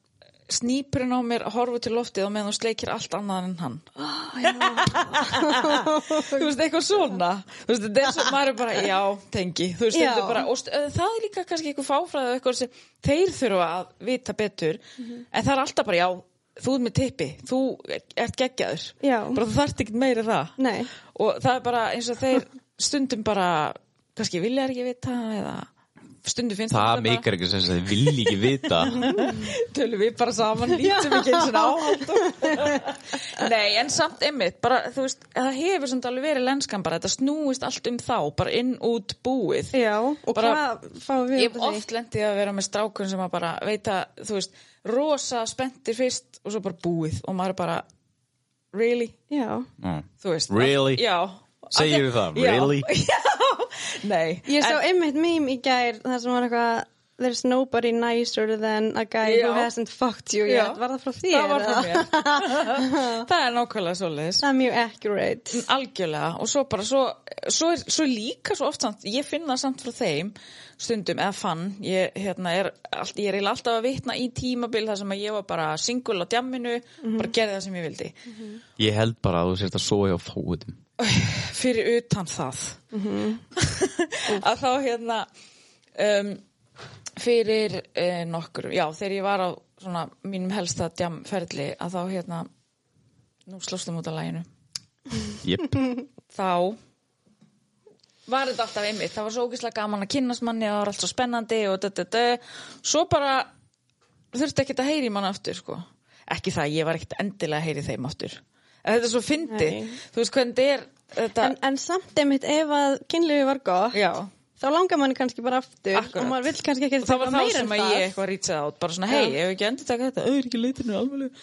snýpurinn á mér horfu til loftið og meðan þú sleikir allt annað en hann þú veist, eitthvað svona þú veist, þetta er svo, maður er bara, já, tengi þú veist, Já. þetta er bara, og st- eh, það er líka kannski eitthvað fáfræðið og eitthvað sem þeir þurfa að vita betur Mhm. en það er alltaf bara, já, þú ert með tippi þú ert geggjaður Já. bara þú þarft ekkert meira en það Nei. og það er bara eins og þeir stundum bara, kannski vilja þeir ekki vita eða stundum finnst Það þeim meikar ekki sem þess að þið vilji ekki vita tölum við bara saman lítum ekki eins og áhald nei en samt einmitt bara þú veist það hefur samt alveg verið lenskan bara þetta snúist allt um þá bara inn út búið Já, og Bara- hvað fáum við ég hef út af því? oft lendið að vera með strákun sem að bara veita þú veist rosa spenntir fyrst og svo bara búið og maður er bara really Já, Mm. þú veist Really? já Segirðu það, Já. really? já nei ég sá einmitt mím í gær þar sem var eitthvað There's nobody nicer than a guy who Já. hasn't fucked you yet. Var það frá þér? það var eða? frá mér það er nákvæmlega svoleiðis Það er mjög accurate. algjörlega og svo bara svo, svo, er, svo líka svo oft samt, ég finn það samt frá þeim stundum eða fann ég, hérna, er, allt, ég er eiginlega alltaf að vitna í tímabil þar sem að ég var bara single á djamminu Mhm. bara gerði það sem ég vildi Ég held bara að þú sért að sofa hjá fóðum fyrir utan það Mhm. að þá hérna um, fyrir uh, nokkur, já þegar ég var á svona mínum helsta djamferli að þá hérna nú slóstum út af læginu Jep, þá var þetta alltaf einmitt, það var svo ógislega gaman að kynnast manni og það var allt svo spennandi og dö, dö, dö. svo bara þurfti ekkert að heyri mann aftur sko. ekki það, ég var ekkert endilega að heyri þeim aftur en þetta er svo fyndi Nei. þú veist hvernig þetta er þetta, En, en samt einmitt ef að kynlífi var gott, já, þá langar mann kannski bara aftur Akkurat. og maður vill kannski ekki og það var þá meira en sem að ég eitthvað rýtsaði át bara svona, hei, ef ekki endur taka þetta það er ekki leitinu alveg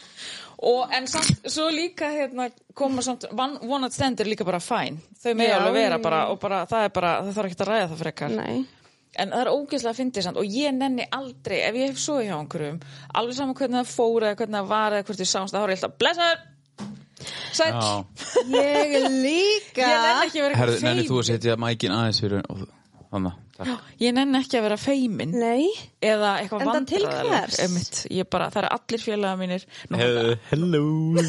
og en samt, svo líka hérna koma samt, one, one at stand er líka bara fæn þau með Já. alveg vera bara og bara, það er bara, það þarf ekki að ræða það frekar Nei, En það er ógeðslega fyndið samt og ég nenni aldrei, ef ég hef svoði hjá einhverjum, alveg saman hvernig það fór eða hvernig það var eða hvort ég sást, það var ég alltaf blessaður, sæll, ég líka. ég nenni ekki að vera Herðu, eitthvað nenni þú að feimin. setja mækin aðeins fyrir og- Þannig, takk Ég nenni ekki að vera feimin Nei, eða eitthvað Enda til vandræðaleg. hvers? Einmitt, ég bara, það eru allir félaga mínir. Nú, Herðu, Hello hæ,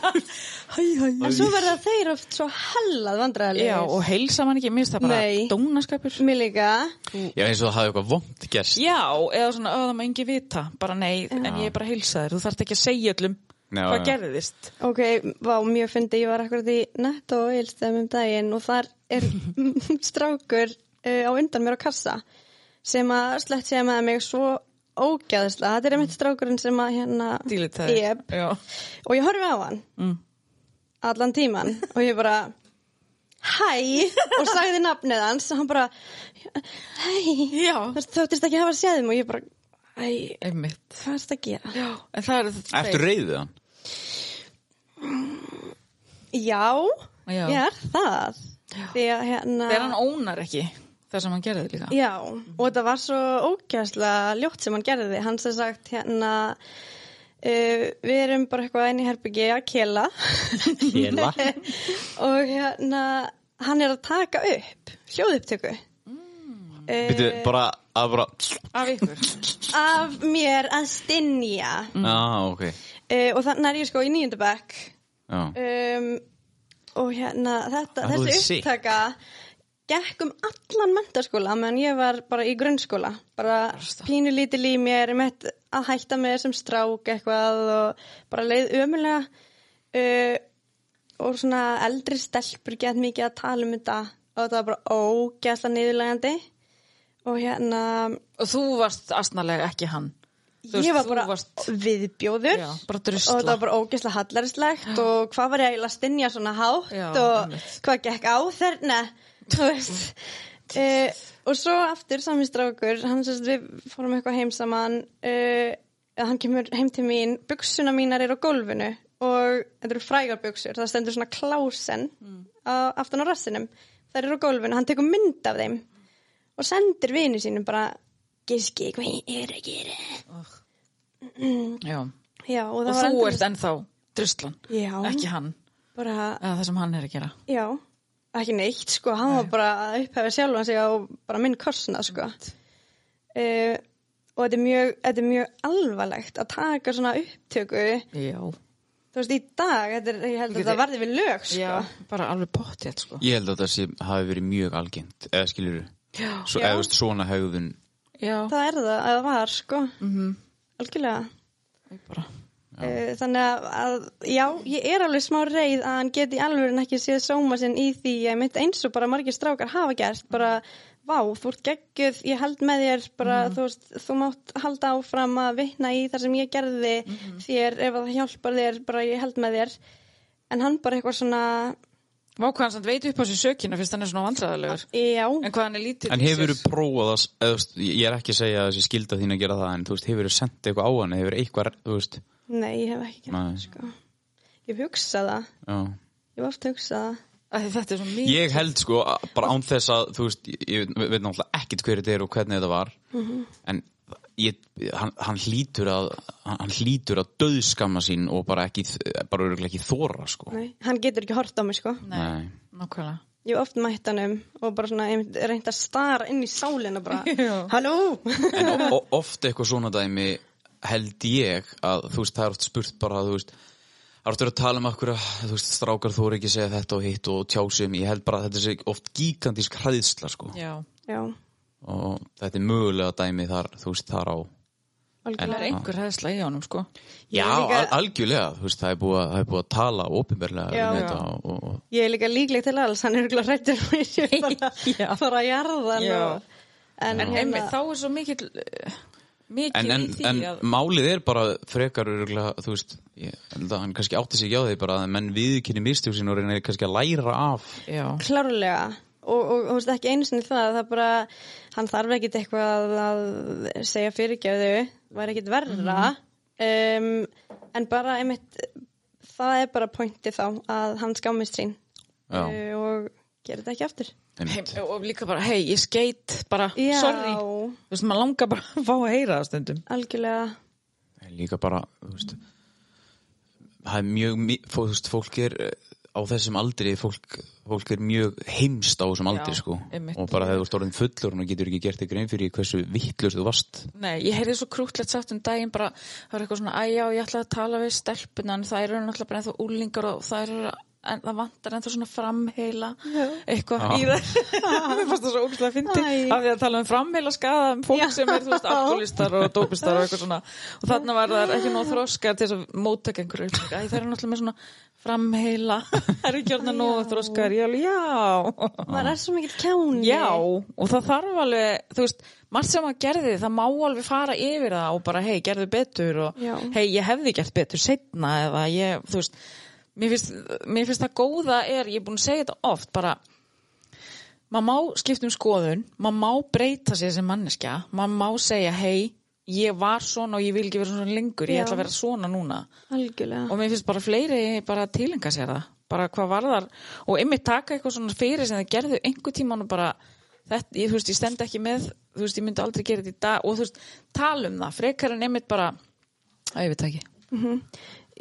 hæ, hæ. en svo verða þeir oft svo hellað vandræðilegir. Já, og heilsa mann ekki, minnst það bara Nei. dónaskapur. Mér líka. Já, eins og það hafði eitthvað vond gerst Já, eða svona, öða maður engi vita, bara nei, en ég er bara að heilsa þér, þú þarft ekki að segja öllum Já, hvað já. gerðist. Ok, vá, mjög fyndi, ég var akkurat í netto og eilstöðum um daginn og þar er strákur uh, á undan mér á kassa sem að slett segja með mig svo ógæðislega. Þetta er einmitt strákurinn sem að hérna... Dílit það. Yep. Já. Og ég horfi á hann Mm. allan tíman og ég bara hæ og sagði nafnið hans og hann bara hæ Já. þóttist ekki hafa séð mig og ég bara æ, Einmitt. hvað er þetta að gera? Já, en það eru þetta Eftir reyðið hann Já, Já. ég er það því að hérna Þegar hann ónar ekki það sem hann gerði líka. Já, og þetta var svo ógæðslega ljótt sem hann gerði. Hann sem sagt hérna, uh, við erum bara eitthvað inn í herbyggi að kela. Kela? og hérna, hann er að taka upp hljóðupptöku. Býtu, Mm. bara, að bara Af ykkur. af mér Eh, að stinja. Já, ok Mm. Uh, og þannig er ég sko í nýjöndabæk já, um, og hérna þetta, Ah, þú ert þessi sick. upptaka gekk um allan mentaskóla meðan ég var bara í grunnskóla bara pínu lítil í mér mitt að hætta með sem strák eitthvað og bara leið ömulega uh, og svona eldri stelpur gett mikið að tala um þetta og þetta var bara ógæsla niðurlegandi og hérna Og þú varst astnalega ekki hann. Þú ég veist, var þú bara varst- viðbjóður Já, bara og þetta drusla. var bara ógeðslega hallarslegt og hvað var ég eiginlega að stinja svona hátt Já, og einmitt. hvað gekk á þarna þú veist uh, og svo aftur sami strákur hann sérst við fórum eitthvað heim saman uh, hann kemur heim til mín buksuna mínar eru á gólfinu og þetta eru frægar buksur það stendur svona klásen Mm. á, aftan á rassinum það eru á gólfinu, hann tekur mynd af þeim og sendir vini sínum bara giski hvað ég er að gera Já. Já, og, Og það var þú endalaust- ert ennþá druslan. Já. Ekki hann. bara Eða það sem hann er að gera. Já, ekki neitt sko, hann var bara að upphefa sjálfan sig á bara minn korsna sko. Uh, og þetta er, mjög, þetta er mjög alvarlegt að taka svona upptöku, Já. þú veist, í dag, þetta er, ég held Ég að það geti- varði við lög sko. Já. Bara alveg pottjætt, sko. ég held að það sé, hafi verið mjög algengt eða skilur Svo, Já. eða þú veist, svona hegðun Já. Það er það að það var sko, Mhm. algjörlega. Ég bara. Uh, þannig að, að, já, ég er alveg smá reið að hann geti alveg en ekki séð sóma sinn í því ég mitt eins og bara margir strákar hafa gert, bara, vá, þú ert geggjöð, ég held með þér, bara, þú veist, þú mátt halda áfram að vitna í þar sem ég gerði þér, ef það hjálpar þér, bara, ég held með þér, en hann bara eitthvað svona, Vá hvað hann samt veit upp á sér sökina fyrst hann er svona vandræðalegur. já, En hvað hann er lítill En í hefur sér. þú prófað að, eða, þú veist, ég er ekki að segja að þessi skilda þín að gera það, en þú veist, hefur þú sendt eitthvað á hann, hefur eitthvað, þú veist, nei, ég hef ekki gert Nei. það, sko, ég hef hugsað það, já. ég hef oft hugsað það, Af því Þetta er svo mikið. Ég held sko, að- bara án þess að, þú veist, ég, ég veit- veit náttúrulega ekkit hverju þetta er og hvernig þetta var, Mhm. en ég, hann, hann hlýtur að, hann hann hlýtur að döðskamma sín og bara ekki, bara örgulega ekki þóra, sko. nei, hann getur ekki hort á mig, sko. Nei. Nákvæmlega. Ég hef oft mætt hann um og bara svona einmitt reynt að stara inn í sálina bara, Já. halló! en o- o- oft eitthvað svona dæmi held ég að þú veist það er oft spurt bara þú veist það er oft verið að tala um okkur að þú veist strákar þú ekki að segja þetta og hitt og tjásum ég held bara að þetta sé oft gigantísk hræðsla sko Já. Já, og þetta er mögulega dæmi þar þú veist þar á Það er algjörlega. einhver hæðsla í honum, sko. Já, er líka- al- algjörlega, þú veist, það er búið að, það er búið að tala opinberlega Já, um já. þetta og, og Ég er líka líkleg til alls, hann er ykkur hrættur og ég sé bara, Já. bara að jarða hann Já. og... En, En hérna- einmitt, þá er svo mikill eh, mikið en, en, í því en að málið er bara frekar örgulega, þú veist, ég held að hann kannski átti sig ekki á því bara að menn viðkynni mistjóksinn og reynir kannski að læra af Já, klárlega og, og, og þú veist ekki einu sinni það það er bara, hann þarf ekkit eitthvað að segja fyrirgefðu væri ekkit verra Mhm. um, en bara einmitt það er bara pointi þá að hann skámist sín Já. uh, og gerir þetta ekki aftur einmitt. heim, og líka bara, hei, ég skeit bara, Já. sorry Þú veist, maður langar bara að fá að heyra það stundum algjörlega En líka bara, þú veist, það er mjög, mi- fó- þú veist, fólk er eh, á þessum aldri, fólk, fólk er mjög heimst á þessum aldri, sko. einmitt. Og bara þegar þú ert orðin fullur og getur ekki gert þig grein fyrir því hversu vittlust þú varst. Nei, ég heyrði svo krútlegt sagt um daginn bara, það var eitthvað svona, æjá, ég ætlaði að tala við stelpuna, en það eru náttúrulega bara ennþá úlingar og það eru en það vantar ennþá svona framheila eitthvað í það mér fannst það svo ógustlega fyndi Æ. af því að tala um framheila skada um fólk Já. sem er þú veist alkoholistar og dópistar og eitthvað svona og þarna var það ekki nóg þroskar til þess að móttaka einhverju upplýsingar. Æ, það eru náttúrulega með svona framheila það eru ekki orðna nóg þroskar já, já maður er svo mikill kjáni Já, og það þarf alveg, þú veist, margt sem maður gerði, það má alveg fara yfir það og bara, hei, gerðu betur og Já. hei, ég hefði gert betur setna eða ég, þú veist, mér finnst, mér finnst það góða er, ég er búin að segja þetta oft, bara, maður má skipta um skoðun, maður má breyta sér sem manneskja, maður má segja, hei, ég var svona og ég vil ekki vera svona lengur, ég Já. ætla að vera svona núna algjörlega og mér finnst bara fleiri bara tilenga sér það bara hvað varðar og einmitt taka eitthvað svona fyrir sem þið gerðu einhver tíman og bara þetta, ég, þú veist, ég stend ekki með þú veist, ég myndi aldrei gera þetta í dag og þú veist, tala um það, frekar en einmitt bara að ég veit það ekki,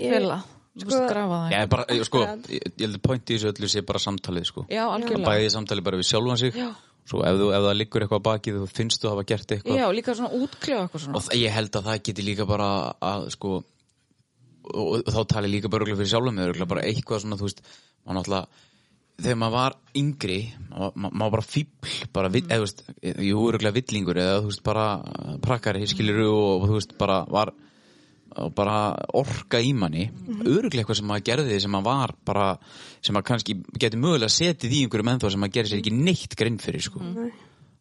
Ég- fela þú veist, grafa það, Ég er bara, ég, sko, Akkurat. ég, ég held að pointi í þessu öllu sé bara samtalið, sko. já, algjörlega Bæði samtalið bara við sjálfan sig. Já. Svo ef, þú, ef það liggur eitthvað að baki þú finnst þú hafa gert eitthvað já, líka svona útkljóða eitthvað svona og þa- ég held að það geti líka bara að sko og, og þá tali líka bara örugglega fyrir sjálfum mig, örugglega bara eitthvað svona, þú veist, maður náttúrulega þegar maður var yngri maður ma- maður bara fíbl, bara vill, eða, þú veist, jú, örugglega villingur eða, þú veist, bara eh, prakkari, skilur og, og þú veist, bara var og bara orka í manni mm Mhm. eitthvað sem maður gerði sem maður var bara, sem maður kannski geti mögulega setið í einhverjum ennþá sem maður gerir sér ekki neitt grinn fyrir, sko Mhm.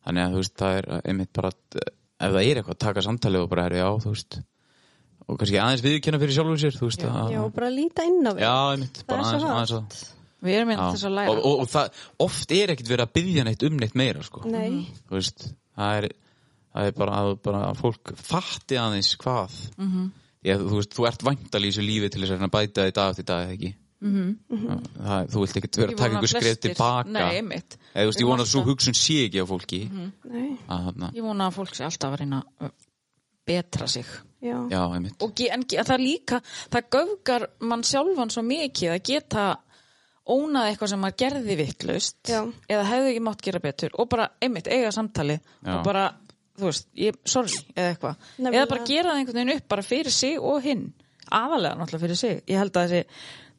þannig að þú veist, það er einmitt bara að- ef það er eitthvað, taka samtalið og bara er já, þú veist og kannski aðeins viðurkenna fyrir sjálfum sér, þú veist að, Já, og bara líta inn á við. já, einmitt, það bara er aðeins, svo aðeins að, hægt. Við erum einnig þess já. að og, læra og, og það, oft er ekkert verið að byggja neitt um neitt meira, sko Nei, Mm. þú veist, það er, það er bara, að, bara að fólk fatti aðeins hvað mm Mhm. -hmm. þú veist, þú ert væntal í þessu lífi til þess að reyna að bæta í dag eftir dag eða ekki mm -hmm. það, þú vilt ekkert vera Ég að taka Mhm. vona einhver skref flestir- tilbaka Nei, einmitt. Eða, þú veist, ég Ég vona að vona svo það. Mhm. hugsun sé ekki á fólki nei, að þarna, Ég vona að fólk sé alltaf að reyna að betra sig. já. já, einmitt Og ge- en ge- það líka, það göfgar mann sjálfan svo mikið að geta ónað eitthvað sem maður gerði vittlust Já. eða hefði ekki mátt gera betur og bara einmitt eiga samtali Já. og bara, þú veist, ég, sorry eða eitthvað. Nefnilega. Eða bara gera það einhvern veginn upp bara fyrir sig og hinn. Aðalega náttúrulega fyrir sig. Ég held að þessi,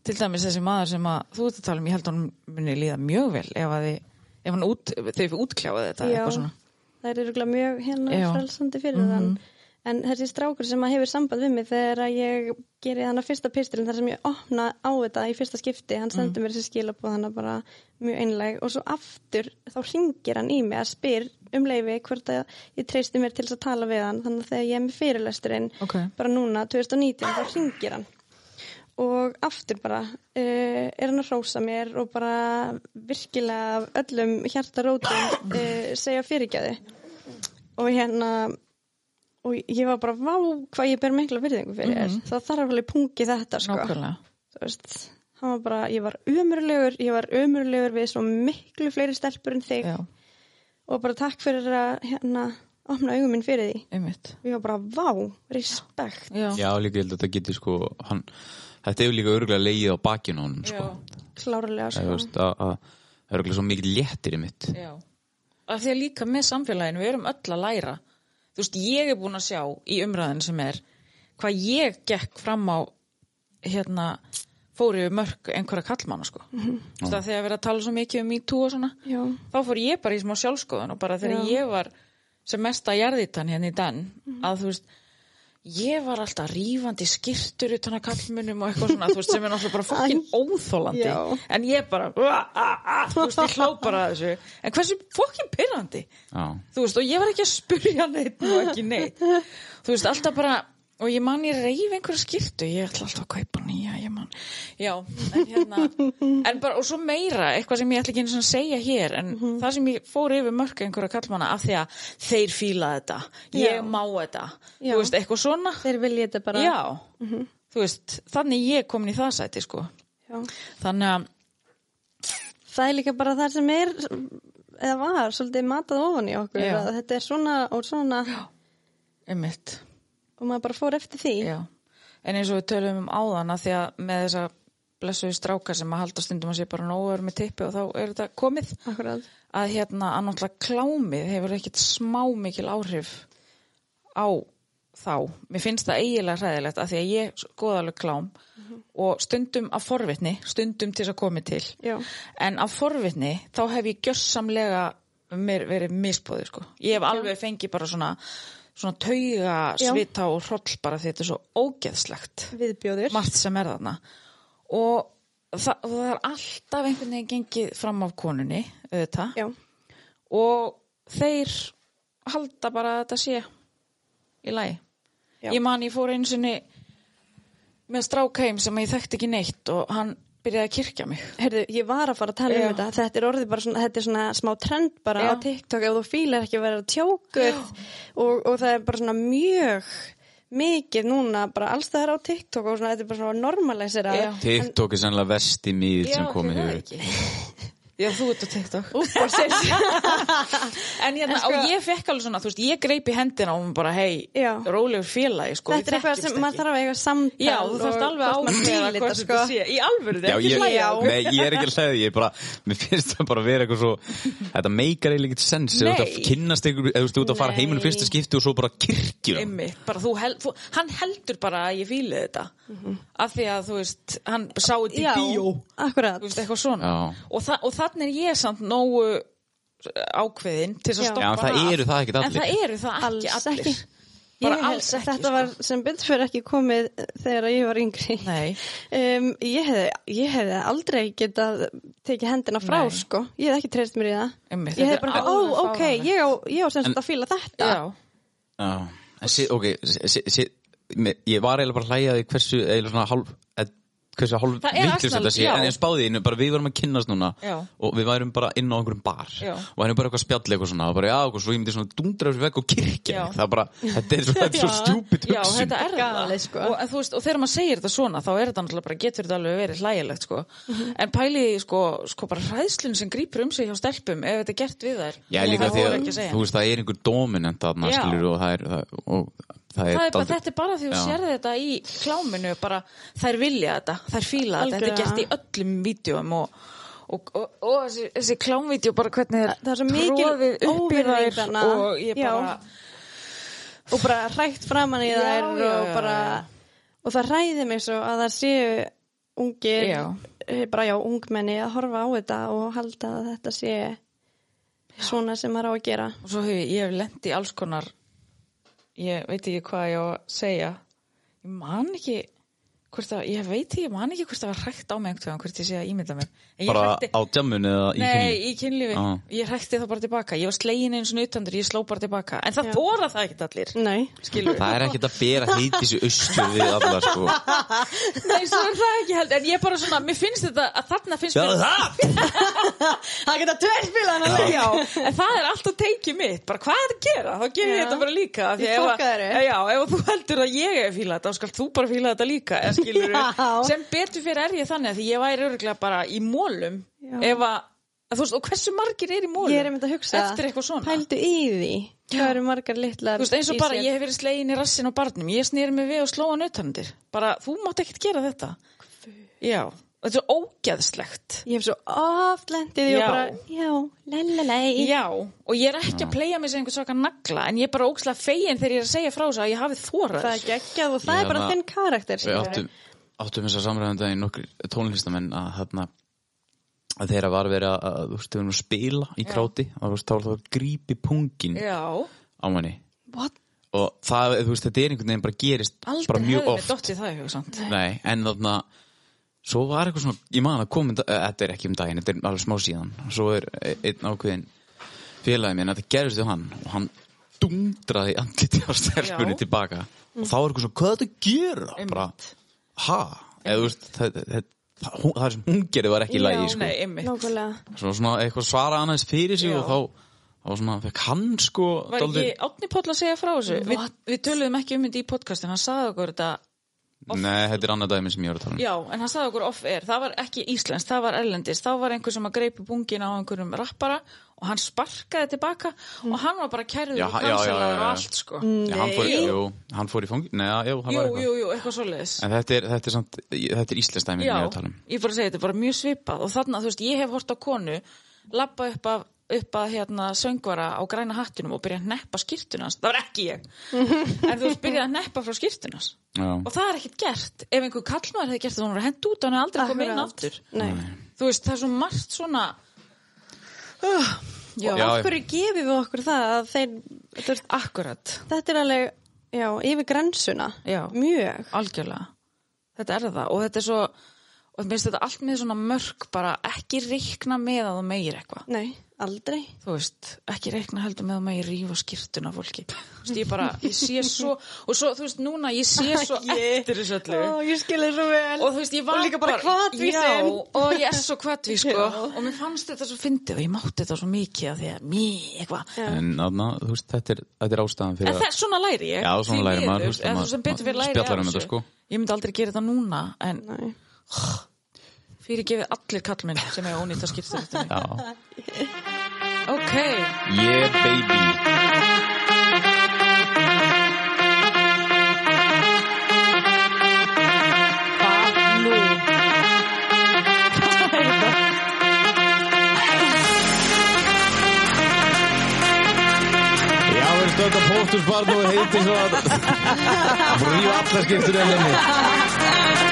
til dæmis þessi maður sem að þú ert að tala um, ég held að hann muni líða mjög vel ef að þið, ef hann út, þau útkljáði þetta Já, eitthvað svona. það er örgulega mjög hérna Já. frelsandi fyrir þann en þessi strákur sem að hefur samband við mig þegar að ég geri þannig að fyrsta pistilin þar sem ég opna á þetta í fyrsta skipti hann sendur mér þessi skilabóð þannig að bara mjög einleg og svo aftur þá ringir hann í mig að spyr um leifi hvort að ég treysti mér til þess að tala við hann þannig að þegar ég er með fyrirlesturinn Ok. bara núna 2019 þá ringir hann og aftur bara uh, er hann að hrósa mér og bara virkilega af öllum hjartarótum uh, segja fyrirgæði og hérna og ég var bara, vá, hvað ég ber mikla virðingu fyrir þér, það þarf alveg pungi þetta sko, Mhm. Nákvæmlega. þú veist hann var bara, ég var ömurlegur, ég var ömurlegur við svo miklu fleiri stelpur en þig Já, og bara takk fyrir að hérna, opna augum minn fyrir því einmitt. og ég var bara, vá, respekt Já. já, líka ég held að þetta geti sko hann, þetta hefur líka örgulega leið á bakinu á honum sko, Eða, klárlega þú sko, veist, að, að það er örgulega svo mikið léttir í mitt Já. Af því að líka með samfélaginu, við erum öll að læra. Þú veist, ég er búin að sjá í umræðin sem er hvað ég gekk fram á hérna fór yfir mörg einhverja kallmanna sko. Mm -hmm. Það þegar við erum að tala svo mikið um MeToo og svona, Já. þá fór ég bara í smá sjálfskoðun og bara þegar Mhm. Já. Mhm. ég var sem mesta jarðitan hérna í den að þú veist, ég var alltaf rífandi skirtur utan að kallmunum og eitthvað svona, þú veist, sem er náttúrulega bara fokkin óþólandi Já. en ég bara, "Ua, a, a," þú veist, ég hló bara að þessu en hversu fokkin pyrrandi já, þú veist, og ég var ekki að spurja neitt og ekki neitt, þú veist, alltaf bara og ég man ég reyf einhverja skiltu ég ætla alltaf að kaupa nýja, ég man já, en hérna en bara, og svo meira, eitthvað sem ég ætla ekki einu sinni að segja hér, en Mhm. það sem ég fór yfir mörg einhverja kallmanna af því að þeir fíla þetta, ég Já. má þetta Já. þú veist, eitthvað svona þeir vilja þetta bara Mhm. já, þú veist, þannig ég komin í það sæti, sko Já. þannig að, það er líka bara það sem er eða var svolítið matað ofan í okkur Já. að þetta er svona og svona einmitt og maður bara fór eftir því Já, en eins og við tölum um áðan að því að með þessa blessuðu stráka sem að halda stundum að sé bara nógur með tippi og þá er þetta komið akkurat, að hérna að náttúrulega klámið hefur ekkit smá mikil áhrif á þá. Mér finnst það eiginlega hræðilegt að því að ég skoða alveg klám og stundum af forvitni, stundum til þess að komi til. Já. En af forvitni þá hef ég gjörsamlega mér verið misbóðið sko. Ég hef alveg fengið bara svona, svona tauga Já. svita og hroll bara því þetta er svo ógeðslegt viðbjóður margt sem er þarna og það, og það er alltaf einhvern veginn gengið fram af konunni auðvitað já, og þeir halda bara að þetta sé í lagi. Já. Ég man ég fór einu sinni með strákheim sem ég þekkti ekki neitt og hann byrjaði að kirkja mig. heyrðu, ég var að fara að tala Já. um þetta þetta er orðið bara svona, þetta er svona smá trend bara Já. á TikTok, ef þú fílar ekki að vera tjókuð og, og það er bara svona mjög mikið núna, bara alls það er á TikTok og svona, þetta er bara svona normalisera Já. TikTok er sannlega vesti mýð sem komið hefur ekki. Já, þú ert á TikTok. Útbórsins. En hérna, sko- og ég fekk alveg svona, þú veist, ég greip í hendina og hún bara, hei, Já. rólegur félagi, sko. Þetta er við eitthvað þekkjumst sem maður ekki. þarf að eiga samtal Já, þú þarfst alveg á að að þetta hvort sko. þetta sé. Í alvöru, Já, þetta er ég, ekki hlæja. á. nei, ég er ekki að hlæði, ég er bara, mér finnst það bara að vera eitthvað svo, þetta meikar eiginlega ekkert sens, eða þú ert Nei. að kynnast ykkur, eða þú ert að fara Nei. heiminu fyrsta skipti og svo bara kirkjur. Einmitt, bara þú held, þú, hann heldur bara að ég fíli þetta. Af því að, þú veist, hann sá þetta í Mhm. Já, bíó. Þú akkurat veist, eitthvað svona. Já. Og, þa og þannig er ég samt nógu eh, ákveðin til þess að Já. stoppa Já, en það af. eru það ekkert En allir. það eru það Alls ekki allir. ekki. Bara Ég- alls ekki. sko. Þetta var sem betur fyrir ekki komið þegar ég var yngri Nei. um, ég, hefði, ég hefði aldrei getað tekið hendina frá Nei. sko Ég hefði ekki treyst mér í það Einmitt, Ég þetta hefði er bara, ó, alveg ok, fáránlegt. ég á, ég á sem sagt að fíla þetta Já. Já, en sé, ok, sé, sé, me- ég var eiginlega bara að hlæja því hversu, eiginlega svona hálf, eh, hversu hálf Það er vitlaust actually- þetta sé, já. en ég spáði einu, bara við varum að kynnast núna Já. og við værum bara inn á einhverjum bar Já. og hann er bara eitthvað spjall eitthvað svona og bara, já, og svo ég myndi svona dundra þessu vekk og kirkja Já. mig. það er bara, þetta er svo, þetta er svo Já. stjúpid Já, hugsun. þetta er Galið, það sko. og, en þú veist, og þegar maður segir þetta svona þá er þetta náttúrulega bara, getur þetta alveg verið hlægilegt sko. Mhm. en pæliði sko, sko bara hræðslun sem grýpur um sig hjá stelpum ef þetta er gert við þær Já, Það líka voru því að, ekki að segja. þú veist, það er einhver dominant þarna, Já. skilur, og það er, það, og það er, það er bara, dálítið- þetta er bara því þú Já. sérði þetta í kláminu bara þær vilja þetta, þær fíla þetta þetta er Algjörlega. gert í öllum vídjum og, og, og, og þessi, þessi klámvídjó bara hvernig Það er svo mikil troðið upp í óvirðing þær þarna. og ég Já. bara Og bara hrækt framan í Já, þær já, og já, bara Og það ræði mig svo að það séu ungir, Já. eh, bara já, ungmenni að horfa á þetta og halda að þetta sé svona sem maður á að gera og svo hefur ég hef lent í alls konar ég veit ekki hvað ég á að segja ég man ekki hvort að, ég veit ekki, ég man ekki hvort það var hrækt á mig einhvern veginn, hvort ég sé að ímynda mér En ég bara hrækti- á djamun eða í Nei, kynlífi. í kynlífi, Já. ég hrækti það bara tilbaka ég var slegin eins og nutandur, ég sló bara tilbaka en það Já. þóra það ekkert allir Nei, skilur Það er ekkert að bera heitis í austur við alla, sko. Nei, svo er það ekki held en ég bara svona, mér finnst þetta að þarna finnst Já, mér það! það geta tverspilað hann Já, en það er alltaf teikið mitt bara hvað er þetta að gera, þá gerir Já. ég þetta bara líka af því Ég ef að- fokka þér upp. Já, ef þú heldur að ég er fíla þetta þá skal þú bara fíla þetta líka eða skilurðu. Já. sem betur fyrir er ég þannig af því ég væri örgulega bara í mólum Já. ef að, að þú veist, og hversu margir er í mólum Ég er einmitt að hugsa það. eftir eitthvað svona Pældu í því Hvað eru margar litlar þú veist, eins og í bara sér? ég hef verið slegin í rassin á barnum ég snýri mig við og slóa nautandir bara þú mátt ekkert gera þetta já, þetta er ógeðslegt Ég hef svo oft lendið því Já. og bara Já, lalalei Já, og ég er ekki að playa mig sem einhver svaka nagla en ég er bara ógslag fegin þegar ég er að segja frá þess að ég hafi þórað Það er geggjað og það Ég er bara hérna- þinn karakter Við skilurðu. áttum, áttum þess að samræðum daginn nokkur tónlistamenn að þarna að þeirra var verið að, að þú veist, þau erum að spila í kráti og þú veist, þá var það grípi pungin Já, á manni What? og það, þú veist, þetta er einhvern veginn bara gerist aldrei bara mjög hefði oft með dottið það í hug samt Nei, en þarna svo var eitthvað svona, ég man að koma um da- eh, þetta er ekki um daginn, þetta er alveg smá síðan svo er einn ákveðin félagi minn, þetta gerist við hann og hann dundraði andliti á stelpunni Já. tilbaka og þá er eitthvað svona, hvað er þetta að gera? bara, ha? eða þú veist, það, það, það, hún- það sem hún gerði var ekki í lagi, sko Nei, einmitt Nákvæmlega svo svona eitthvað svara hann aðeins fyrir sig Já. og þá, þá svona, fekk hann sko Var dálítið- ekki Átni Páll að segja frá þessu? Vi, við töluðum ekki um þetta í podcastin, hann sagði okkur þetta Nei, þetta er annað dæmi sem ég var að tala um Já, en hann sagði okkur off-air, það var ekki Íslands, það var Erlendis, þá var einhver sem að greipi bungin á einhverjum rappara og hann sparkaði tilbaka og hann var bara kærður Já, og ha- já, já, já, kansalaður og já. allt sko Já, hann fór, Jú. jú, hann fór í fangin Nei, já, jú, það Jú, var eitthvað jú, jú, eitthvað svoleiðis En þetta er, þetta er, samt, þetta er íslensk dæmi sem ég er að tala um. ég bara segi þetta er bara mjög svipað og þarna, þú veist, ég hef hort á konu lappa upp að, upp að hérna, söngvara á græna hattinum og byrja að neppa skýrtunans, það var ekki ég en þú veist, byrja að neppa frá skýrtunans og Já. það er ekkert gert ef einhver kallmaður hefði gert það, hún var hend út og hann hefði aldrei komið inn Akkurat. aftur Nei þú veist, það er svo margt svona Já, Já, af já. hverju gefum við okkur það að þeir þú veist, akkurat, Þetta er alveg, já, yfir grensuna Já. Mjög algjörlega þetta er það og þetta er svo og mér finnst þetta allt með svona mörk bara ekki reikna með að þú meir eitthvað Nei, aldrei þú veist, ekki reikna heldur með að maður rífa skýrtuna af fólki þú veist, ég bara, ég sé svo og svo, þú veist, núna, ég sé svo eftir þessu öllu Ó, ég skil þér svo vel og þú veist, ég var líka bara já, hvatvísin og ég er svo hvatvís, sko Já. og mér fannst þetta svo fyndið og ég mátti þetta svo mikið af því að mér, eitthvað En þarna, þú veist, þetta er, þetta er ástæðan en fyrir það, svona læri ég Já, svona því lærir miður, maður, þú veist, en maður- um þú sem betur maður fyrir læri ég spjallar af um þetta, þessu. sko. ég myndi aldrei gera þetta núna en Nei. Fyrir gefið allir kallmenn sem hefur ónýtt að skipta þetta. Já. Ok, Yeah, baby. hvað nú? Hvað er þetta? Já, við erum stöðt að póstusbarn og heiti svo að Ríu allar skiptur en henni.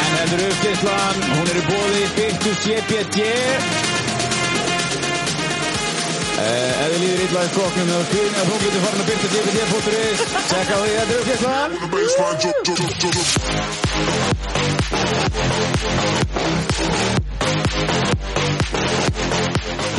En þetta er uppgeislan, hún er í bóði Byrtu CBD. Eh, Ef þið líður illa í skoknum og skýrinn að hún getur farin að byrta CBD.is, tjekka á því þetta er uppgeislan. The baseline, ju- ju- ju- ju- ju-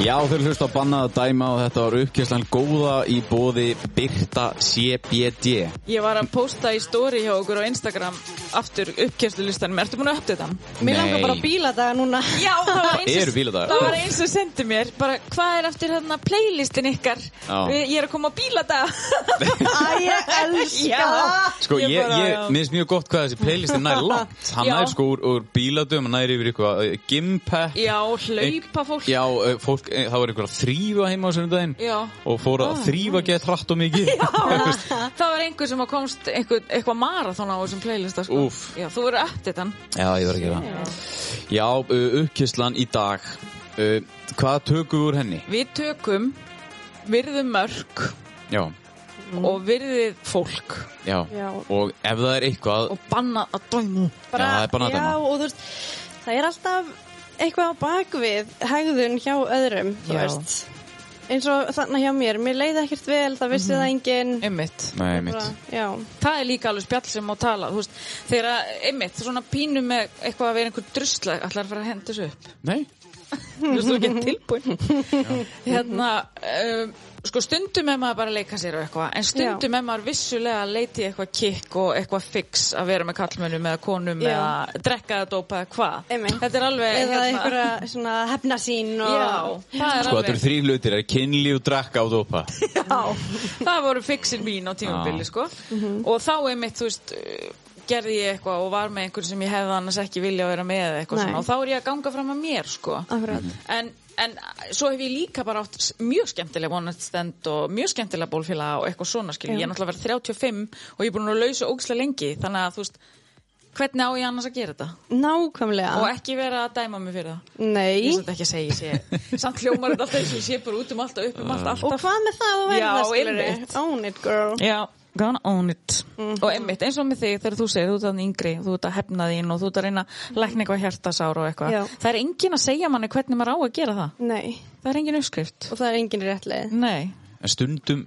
Já, þau eru hlust á bannað að dæma og þetta var uppkjæslan góða í bóði Birta CBD. Ég var að posta í story hjá okkur á Instagram aftur uppkjærslulistanum. Ertu búin að uppdata hann? Nei. Mér langar bara að bíla það núna. Já, það var eins Eru bíladagar? Það var eins og sendi mér bara hvað er eftir þarna playlistin ykkar Já. Við- Ég er að koma á bíladag Æ, ég elska Já. það. Sko, Ég ég, ég, bara- mér finnst mjög gott hvað þessi playlist er nær langt. Hann Já. nær sko úr, úr bíladum, hann nær yfir eitthvað eh, gimpack. Já, hlaupa fólk Já, eh, fólk, eh, það var einhver að þrýfa heima á sunnudaginn Já. Ah. og fór að þrýfa gett hratt og mikið. Það var einhver sem að komst einhver, eitthvað marathon á þessum playlista sko. Úff. Já, þú verður eftir þann Já, ég verð að gera það. Já, eh, uppkjæslan í dag. Eh, Hvað tökum við úr henni? Við tökum virðum mörg Já, Mm. og virðið fólk já. Já. Og ef það er eitthvað, og banna að dæmu Bara, Já, það er bara að já, dæma. og þú veist, það er alltaf eitthvað á bakvið hegðun hjá öðrum, þú Já. veist. Eins og þarna hjá mér, mér leiði ekkert vel, það vissi það enginn. Mhm. Einmitt nei, mitt. Bara, já, Það er líka alveg spjall sem má tala þú veist, Þegar, að- einmitt, svona pínu með eitthvað að vera einhver drusla ætlar að fara að henda þessu upp Nei? Þú veist, þú er ekki tilbúin Hérna, um, sko stundum er maður bara að leika sér og eitthvað En stundum er maður vissulega að leita í eitthvað kikk og eitthvað fix Að vera með kallmönnum eða konum Já. eða drekka eða dópa eða hvað Einmitt. Þetta er alveg hérna- eða einhverja svona hefna sín og... Já, það er Sko, þetta alveg eru þrý hlutir, það er kynlíf, drakka og dopa. það voru fixin mín á tímabili Já. sko. og þá er mitt, þú veist uh, gerði ég eitthvað og var með einhvern sem ég hefði annars ekki vilja að vera með eða eitthvað Nei. Ah. svona, og þá er ég að ganga fram að mér sko. Akkurat. en, en svo hef ég líka bara átt s- mjög skemmtilega vonatstend og mjög skemmtilega bólfélaga og eitthvað svona skil ég er náttúrulega verið 35 og ég er búin að lausa ógislega lengi þannig að þú veist hvernig á ég annars að gera þetta Nákvæmlega. og ekki vera að dæma mig fyrir það Nei. ég svolítið ekki að segja, ég sé samt hljómar þetta alltaf eins og ég sé bara út um allt og upp um allt alltaf Og hvað með það að verða, Já, skilurðu? einmitt. Own it, girl. Já, gonna own it Og einmitt, eins og með þig þegar þú segir þú ert þannig yngri, þú ert að hefna þín og þú ert að reyna að lækna eitthvað hjartasár og eitthvað Já. Það er engin að segja manni hvernig maður á að gera það Nei. Það er engin uppskrift Og það er enginn réttlega. Nei, En stundum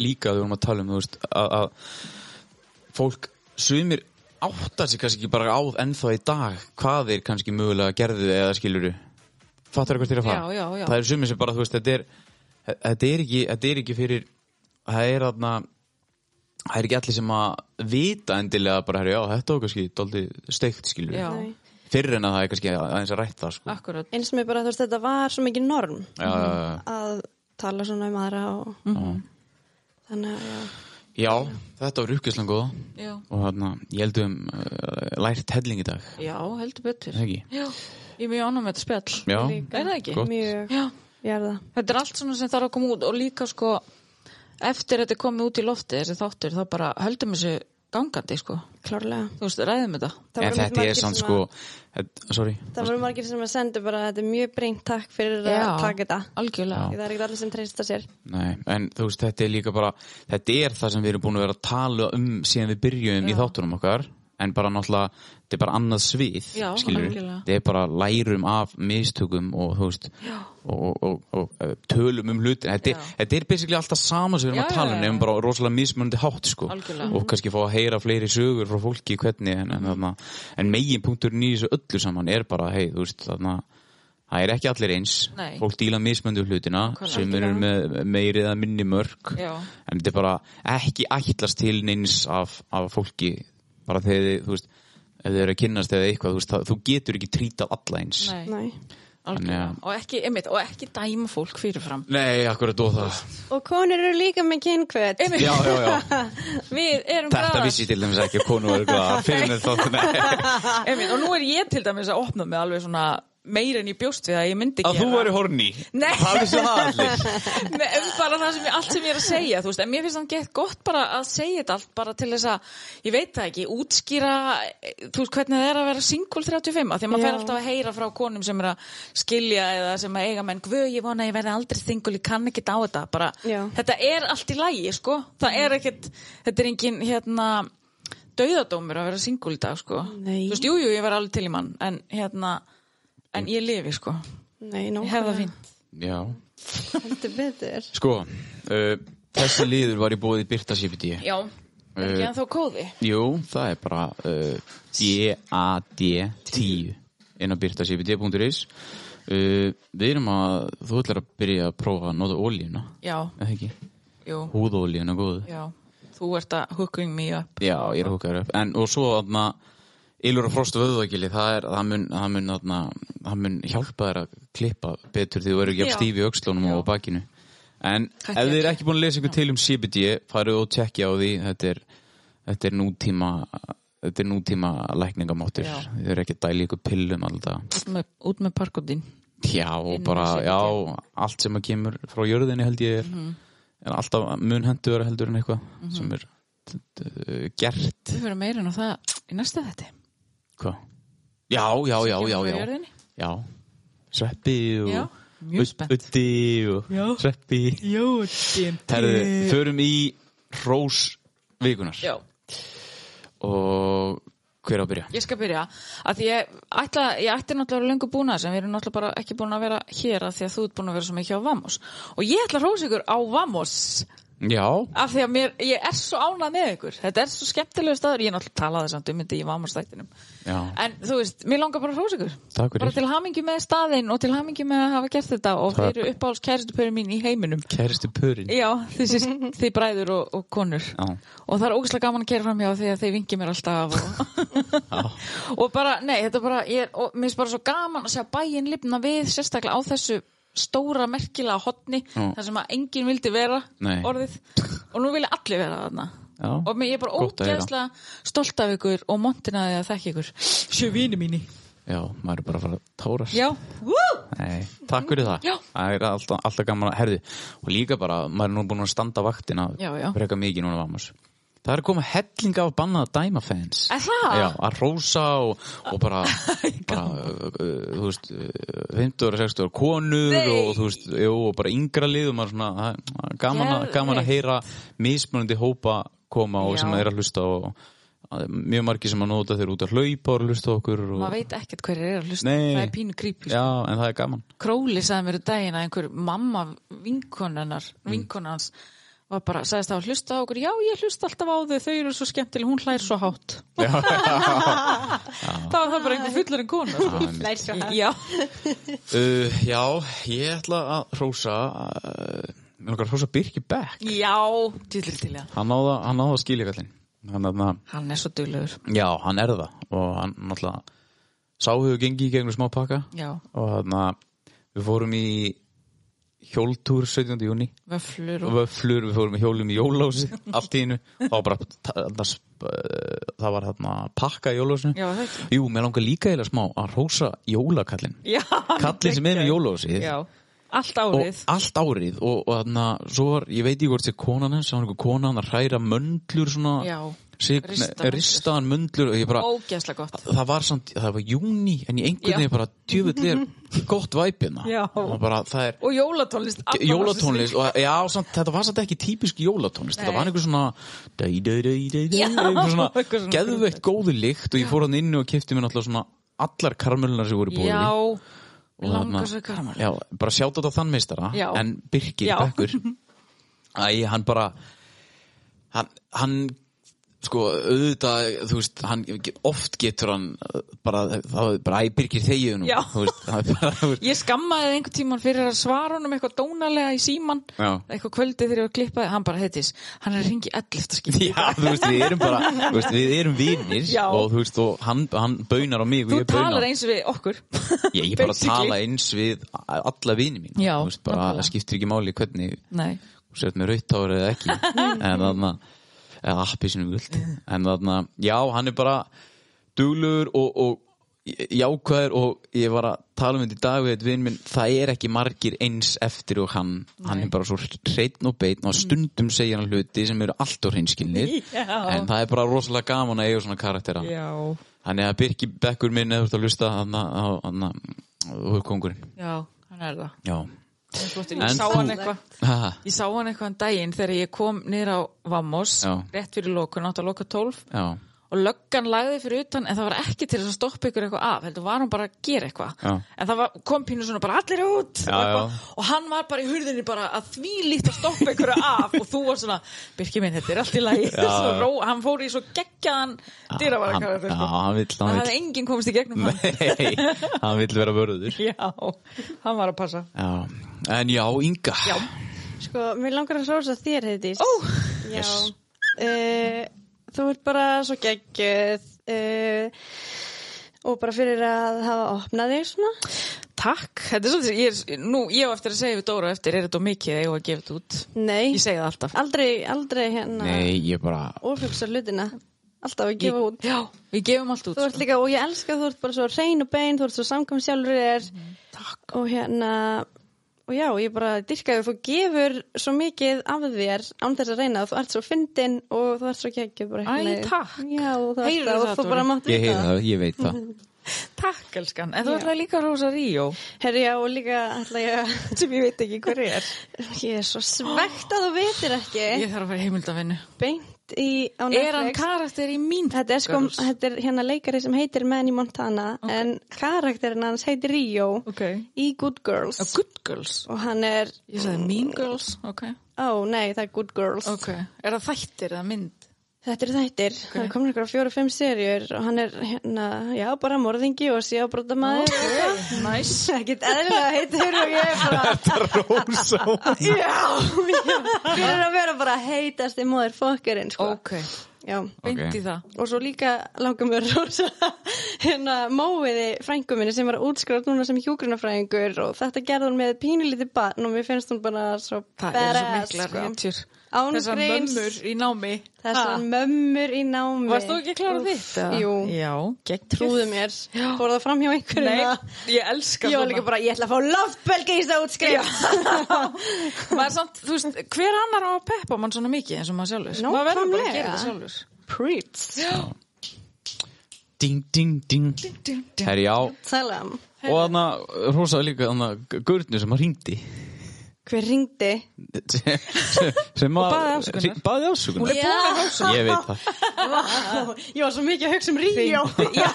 líka, við vorum að tala um, þú veist, að, að fólk sumir áttar sig kannski ekki bara á ennþá í dag hvað þeir kannski mögulega gerðu eða skiluru. Fattar eitthvað til að fara? Já, já, já. Það eru sumir sem bara, þú veist, þetta er, þetta er, ekki, þetta er ekki fyrir, það er aðna, það er ekki allir sem að vita endilega bara, herri, já, þetta var kannski daldið steikt skiluru. Já. Nei. Fyrir en að það er kannski aðeins að rætta, sko. akkurat Eins með bara þú veist, þetta var svo mikið norm Já, já, já. að tala svona um aðra og... Mhm. Þannig að, já. Já, þetta var uppgjörslan góða Já. og þarna, ég held um uh, lært helling í dag, Já, heldur betur er það ekki? Já, ég er mjög ánum með þetta spjall Já, Er það ekki? Gott. Mjög, Já, ég er það. þetta er allt svona sem þarf að koma út og líka sko eftir þetta er komið út í lofti þessi þáttur þá bara höldum þessu gangandi sko Klárlega. Þú veist, ræðum þetta Það en voru þetta margir er samt sem sko að- þetta, sorry, Það voru margir sem að sendu bara þetta er mjög breynt takk fyrir Já. að taka þetta. Algjörlega Það er ekkert allir sem treysta sér. nei, en þú veist þetta er líka bara, þetta er það sem við erum búin að vera að tala um síðan við byrjum í þáttunum okkar, en bara náttúrulega þetta er bara annað svið, Já, skilur algjörlega. þetta er bara lærum af mistökum og þú veist og, og, og, og eh, tölum um hlutin, þetta, er- Já. þetta er basically alltaf sama sem við erum Já, að tala já, um já. nefnum bara rosalega mismunandi hátt sko Algjörlega. og kannski fá að heyra fleiri sögur frá fólki hvernig en, Mhm. en, þarna, en megin punkturinn í þessu öllu saman er bara hei, þú veist, þarna það er ekki allir eins, Nei. fólk díla mismöndu hlutina Nákvæmlega. sem eru með meiri eða minni mörg Já. en þetta er bara ekki ætlast til neins af, af fólki bara þegar þið, þú veist ef þið eru að kynnast eða eitthvað, þú, veist, það, þú getur ekki trítað alla eins Nei. Nei. algjörlega. Þannig og ekki, einmitt, og ekki dæma fólk fyrirfram Nei, akkurat og það Og konur eru líka með kynkvöt. einmitt, Já, já, já við erum Þetta glaðar. vissi ég til dæmis ekki að konu var glaðar fyrir mér þótt Nei. einmitt, og nú er ég til dæmis að opna mig alveg svona meira en ég bjóst við að ég myndi Að þú væri horni Nei. Það vissi það allir Nei, en bara það sem ég, allt sem ég er að segja þú veist, en mér finnst þannig gett gott bara að segja þetta allt bara til þess að, ég veit það ekki útskýra, eh, þú veist hvernig það er að vera single 35, af því að maður Já. fer alltaf að heyra frá konum sem er að skilja eða sem að eiga menn, guð, ég vona að ég verði aldrei single, ég kann ekki á þetta, bara Já. þetta er allt í lægi, sko það er ekkert, þetta er engin hérna, dauðadómur að vera single í dag, sko, Nei. þú veist, jújú, jú, ég var alveg til í mann, en hérna en ég lifi, sko, Nei, nóg. ég hef það fínt Já Heldur betur. Sko uh, Þessi liður var í bóði Birta CBD Já, er ekki Eh, ennþá kóði Jú, það er bara uh, D-A-D-10 inn á byrtasífið.is uh, Við erum að þú ætlar að byrja að prófa að nota ólíuna Já, eða ekki? jú, Húðólíuna góðu já Þú ert að hooking me up Já, ég er að húkaður upp en, og svo aðna Ylur og frost og vöðvagili, það, er, það, mun, það, mun, aðna, það mun hjálpa þér að klippa betur því þú verður ekki að Já. stífi aukslónum og á bakinu En ef Hætti þið er ekki. ekki búin að lesa ykkur til um CBD farið og tjekkja á því þetta er, þetta er nútíma þetta er nútíma lækningamáttur Já. þið eru ekki að dæla í ykkur pillum alltaf Út með, út með parkotinn Já, og Inn bara, með CBD. já, allt sem að kemur frá jörðinni held ég er Mhm. en alltaf mun hendur heldur en eitthvað sem er t- t- gert Við verðum meira en á það í næsta þetta Hvað? Já, já, já, já, já Já, sveppi og Já, mjög spennt. Uddi og Já. sveppi Jótin Herðu, förum í Rós vikunar Já, og hver á að byrja? ég skal byrja að því ég, ætla, ég ætti náttúrulega löngu búna sem við erum náttúrulega bara ekki búin að vera hér að því að þú ert búin að vera svo mikið á Vamos og ég ætla að rósa ykkur á Vamos Já, af því að mér, ég er svo ánað með ykkur þetta er svo skemmtilegu staður, ég náttúrulega talaði samt um þetta í Vamos þættinum já, En þú veist, mér langar bara að hrósa ykkur Takk fyrir. Bara til hamingju með staðinn og til hamingju með að hafa gert þetta og Takk. þeir eru uppáhalds kæristupöri mín í heiminum kæristu pörin Já, þessi, þið bræður og, og konur Já. Og það er ógæslega gaman að kæra fram hjá því að þeir vingi mér alltaf og, og bara, nei, þetta er bara ég er, og mér finnst bara svo gaman að sjá bæinn lifna við sérstaklega á þessu stóra merkilega hotni, Já. þar sem að enginn vildi vera Nei. orðið og nú vilja allir vera þarna Já. og mér ég er bara Gott að heyra. ógeðslega stolt af ykkur og montinaði að þekki ykkur sjö vini mínu Já, maður er bara að fara að tárast Já, Nei, takk fyrir það Já. Það er alltaf, alltaf gaman að herði og líka bara, maður er nú búin að standa vaktina Já, já. freka mikið núna vamos Það er að koma helling af bannað dæmafans Er það? Já, að rósa og, og bara, bara uh, uh, þú veist, uh, 50 og 60 ára konur Nei. og þú veist, jú, og bara yngra lið og maður svona, það er gaman, að, Geðveikt. gaman að heyra mismunandi hópa koma og Já. sem er að hlusta og að mjög margir sem að nota þeir út að hlaupa og hlusta á okkur og, maður veit ekkert hver er að hlusta Nei. það er pínu creepy sko. Já, en það er gaman Króli sagði mér um daginn að einhver mamma vinkonunnar, Mm. vinkonans var bara, sagðist það að hlusta á okkur já, ég hlusta alltaf á þau, þau eru svo skemmtileg hún hlær svo hátt já, það var það bara einhver fullur en kona sko. Lær svo hægt. já, Uh, já, ég ætla að hrósa uh, Mér langar að hrósa Birki Beck já dýllir til það Hann náða, hann náða skiljagallin hann, hann, hann er svo duglegur Já, hann er það og hann náttúrulega sá hefur gengið í gegnum smá pakka já, og þannig að við fórum í hjóltúr 17. júni vöflur og vöflur, við fórum í hjólum í jólósi allt í hennu, það var bara það, uh, það var þarna pakka í jólósinu Já, það ekki. Jú, mér langar líka eða smá að hrósa jólakallin já, hann er Kallin sem er með geggjaður. jólósið já, allt árið og allt árið og, og þarna, svo var, ég veit ekki hvort þetta er konan hans, það var einhver konan að hræra möndlur svona, Já, sig, rista ne, ristaðan möndlur og ég bara, ógeðslega gott það var samt, það var júni en ég einhvern Já. veginn bara, djöfull er gott væpina, Já. bara, það er og jólatónlist allan jólatónlist og já, samt, þetta var samt ekki típisk jólatónlist þetta Nei. var einhver svona dæ, dæ, dæ, dæ, dæ, Já, einhver einhver svona svona geðveitt góðu lykt og ég fór hann inn og kefti mér náttúrulega svona allar karmölunar sem voru búið Já, Og langar þarna- svo í karamel Já, bara sjátt á þetta þann meistara Já. En Birgir Já. Bekkur Æ, hann bara Hann, hann sko, auðvitað, þú veist, hann, oft getur hann uh, bara, það er bara, æ, byrgir þegið nú, Já. þú veist, það er bara, þú veist, Ég skammaði einhvern tíman fyrir að svara honum eitthvað dónalega í síman Já. eitthvað kvöldið þegar ég var klippaði, hann bara heitis hann er að ringi 11. skipti já, þú veist, við erum bara, þú veist, við erum vinnir Já. og þú veist, og hann, hann baunar á mig og Þú ég baunar. talar eins við okkur Ég, ég bara Basically. tala eins við alla vini mín, Já, þú veist, bara, nákvæmlega. það skiptir ekki máli hvernig, Nei, þú sért með rauttári eða ekki en þarna eða appi sinum guld en þarna, já, hann er bara duglugur og, og jákvæður og ég var að tala um þetta í dag við eitt vinn minn, það er ekki margir eins eftir og hann, hann er bara svo hreitn og beitn og stundum segja hann hluti sem eru allt og hreinskinnir Já. en það er bara rosalega gaman að eiga svona karaktera já þannig að Birki Bekkur minn eða þú ert að hlusta hann að hugkongurinn Já, hann er það já, Hann er flottur. En Ég sá þú- hann eitthvað haha, Ég sá hann eitthvað en daginn þegar ég kom niður á Vamos, Já. rétt fyrir lókun, átt að lóka 12 já og löggan lagði fyrir utan en það var ekki til þess að stoppa ykkur eitthvað af heldur var hún bara að gera eitthvað Já. en það var, kom pínu svona bara allir Já, út og, eitthvað. já. og hann var bara í hurðinni bara að því líkt að stoppa ykkur af og þú var svona, Birki minn, þetta er allt í lagi Svo ró, hann fór í svo geggjaðan dyravara hann, já, hann vill, það hann vill hefði enginn komist í gegnum hann Nei, hann vill vera vörður já, hann var að passa já. En já, Inga já, Sko, mér langar að rosa þér, Heiðdís. Ó! Já. Yes. Eh, þú ert bara svo geggjöð uh, og bara fyrir að hafa opnað þig svona. takk þetta er svolítið, ég, er- nú, ég hef eftir að segja við Dóra eftir, er þetta of mikið eða ég að gefa þetta út Nei, ég segi það alltaf aldrei, aldrei hérna Nei, ég bara ofhugsa hlutina. Alltaf að gefa út. já, við gefum allt út Þú ert líka, og ég elska að þú ert bara svo reyn og bein, þú ert svo samkvæm sjálfur þér Mhm, Takk Og hérna, og já, ég bara dyrkaði þú gefur svo mikið af þér án þess að reyna og þú ert svo fyndin og þú ert svo geggjöð bara Æ, einhvern veginn. takk. Já, og þú, Heyrðu ert, það, það, og þú Dóri? bara mátt Ég vita heyri það, ég veit það Takk, elskan. En þú Já. ætlaði líka að rosa Ríó. Herri, já, og líka ætla ég að Sem ég veit ekki hver er. Ég er svo svegt að þú vitir ekki Ég þarf að fara í heimildavinnu. Beint í, Er á hann Netflix karakter í mín? Þetta er sko, Girls? þetta er hérna leikari sem heitir Manny Montana En karakterinn hans heitir Rio Ok. Í Good Girls Oh, good Girls. Og hann er, Ég sagði Mean Girls. Ok. ó nei, það er Good Girls. Ok. Er það þættir eða mynd? Þetta eru þættir, það komur ykkur á fjóra-fimm serjur og hann er hérna, já, bara morðingi og síðabrótamaður. Ok. Nice. Ekkert eðlilega heitur og ég er bara, Rósa já, fyrir að vera bara heitasti móður fokkarinn, sko. Ok. Já. Beint í það. Og svo líka langar mér rosa hérna móiði frængu minni sem var útskráð núna sem hjúgrunafræðingur og þetta gerði hún með pínulítið barn og mér finnst hún bara svo Það eru svo badass, miklar sko. réttjur. Án Þessar gríns. mömmur í námi. Þessar Ha? mömmur í námi. Varst þú ekki klára Úff, þitt? eða? Jú. Já. Gekk trúðu mér, fór það fram hjá einhverjum Nei, að- ég elska ég var líka bara, ég ætla að fá loftbelgi í það útskrift Maður samt, þú veist, hver annar á að peppa mann svona mikið eins og maður sjálfur? Maður verður bara að gera það Nákvæmlega. sjálfur. preach, Ding, ding, ding Ding, ding. Herri, já salam Og hann Rósa var líka hann Gurnu sem hann ringdi hver ringdi? Sem- sem að baðið afsökunar. hring- baðið afsökunar Já, Ég veit það vá, ég var svo mikið að hugsa um Ríó já,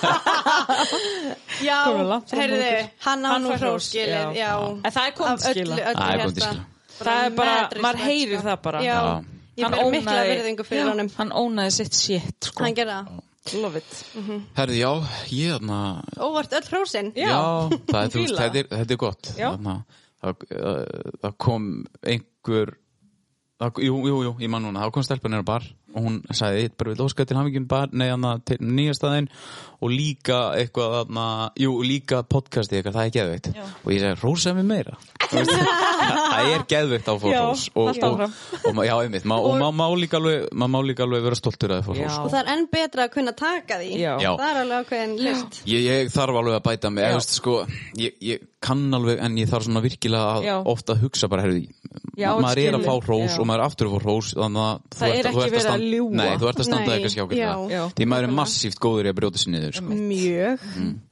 já Komum við langt fram herðu, okkur. hann á Hann nú fær hrós, hróskilir, já. já En það er komið Af til skila. öllu- öllu Það er komið til hjarta. skila. Það er bara- mad respect, maður heyrir sko. það bara. já, Já. ég fyrir mikla verðingu fyrir honum Hann ónaði sitt shit sko. hann gerða, það. Love it Herri, já, ég þarna óvart öll hrósin það Já, er, hún þú veist, fílar þetta er, þetta er gott Já. Þarna, það, uh, það kom einhver það, jú, jú, jú, ég man núna, það kom stelpa nýra bar og hún sagði, ég bara vil óska til hamingjum bar nei, hana, til nýjastæðin og líka eitthvað, hana, jú, líka podcastið eitthvað, það er geðveikt og ég sagði, rósaði mig meira Þú veist, það er geðveikt á Já, fórhús og, haltu og, áfram. og, já, einmitt, ma, og, og má, má, líka alveg, má, má líka alveg vera stoltur að það fórhús Já. og það er enn betra að kunna taka því Já. Já. það er alveg ákveðin list Ég, ég þarf alveg að bæta mig, Já. eða, veist, sko, ég, ég kann alveg en ég þarf svona virkilega að Já. ofta að hugsa bara, herrðu, Já, maður er að skilur. fá hrós Já. og maður er aftur að fá hrós þannig að þú Það ert er að- þú ert ekki að verið að standa- ljúga. Nei, þú ert að standa Nei, eitthvað skjákvæmlega já. Því maður er massíft góður í að brjóta sér niður sko. mjög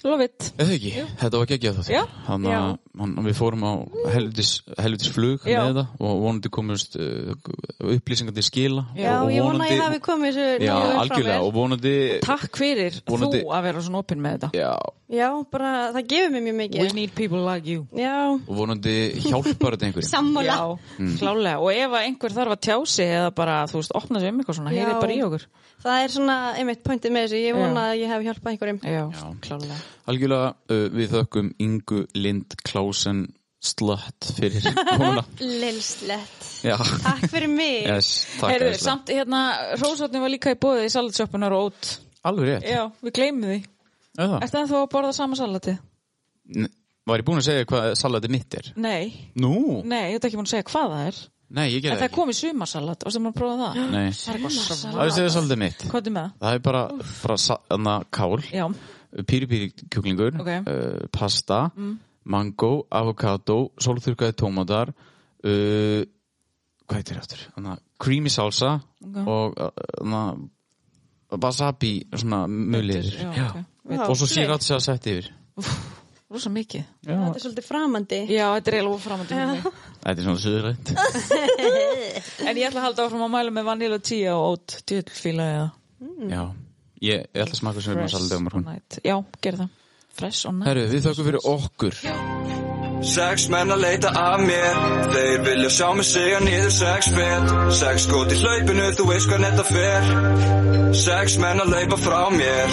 Love it Eða ekki, þetta var geggjað þátt Já. Þannig að hann, við fórum á helvitis, helvitis flug Já. með það og vonandi komust uh, upplýsingandi skila Já, og, og ég vona að ég hafi komið þessu Já, nógu vel frá algjörlega, mér. og vonandi Takk fyrir Vonandi- þú að vera svona opinn með þetta Já, Já, bara það gefur mér mjög We mikið. need people like you Já, og vonandi hjálpar þetta einhverjum sammála. Já, Mm. klálega og ef að einhver þarf að tjá sig eða bara, þú veist, opna sig um eitthvað svona Já. heyrið bara í okkur Það er svona einmitt pointið með þessu. Ég vona Já. að ég hef hjálpað einhverjum. Já, klálega Algjörlega, uh, við þökkum Ingu Lind Klausen Slatt fyrir komuna Lilslett. Já, Takk fyrir mig. yes, takk Heyrðu, æðislega. samt hérna, Rósotni var líka í bóðið í salatsjöppunar og ót Alveg rétt Já, við gleymum því Er það? Ertu ennþá að borða sama salati? N- Var ég búin að segja hvað salatið mitt er? Nei, Nú, nei, ég veit ekki búin að segja hvað það er nei, ég En gerði það það er komið sumarsalat, varstu maður að prófa það? Nei, Það er það eitthvað er salat segja salatið mitt Hvað er með það? Það er bara frá sa- þarna kál Já, píri píri kjúklingur Ok. Mm. uh, pasta, mango avokado, sólþurkaði tómatar uh, hvað heitir það aftur? Þannig, að creamy salsa Ok. og uh, þannig, að wasabi svona mulir já, ok. Vá, og svo flott. sírats að setja yfir rosa mikið Þetta er svolítið framandi. Já, þetta er eiginlega framandi fyrir mig Þetta er svona suðrænt En ég ætla að halda áfram að mæla með vanil og tíu og ót Tjöldfíla eða Já, ég, ég ætla að smaka sem við erum að salda um on morgun night Já, gerð það Fresh on night Herru, við þökkum fyrir okkur Sex menn að leita af mér Þeir vilja sjá mig segja niður sex fet Sex skot í hlaupinu, þú veist hvað netta fer Sex menn að leipa frá mér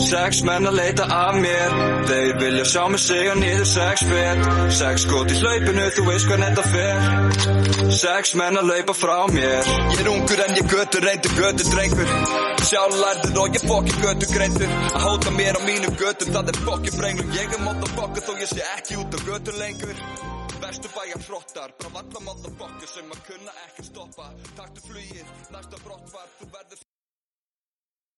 Sex menn að leita af mér Þeir vilja sjá mig segja niður sex fet Sex skot í hlaupinu, þú veist hvað netta fer Sex menn að leipa frá mér Ég er ungur en ég götu reyndur, götu drengur Sjálærður og ég fokkin götu greindur Að hóta mér á mínum götum, það er fokkin frenglum Ég er motherfucker þó ég sé ekki út á götu lengur Verstu bæjar hrottar, bara valla motherfucker sem að kunna ekki stoppa Taktu flugið, næsta brottvar, þú verður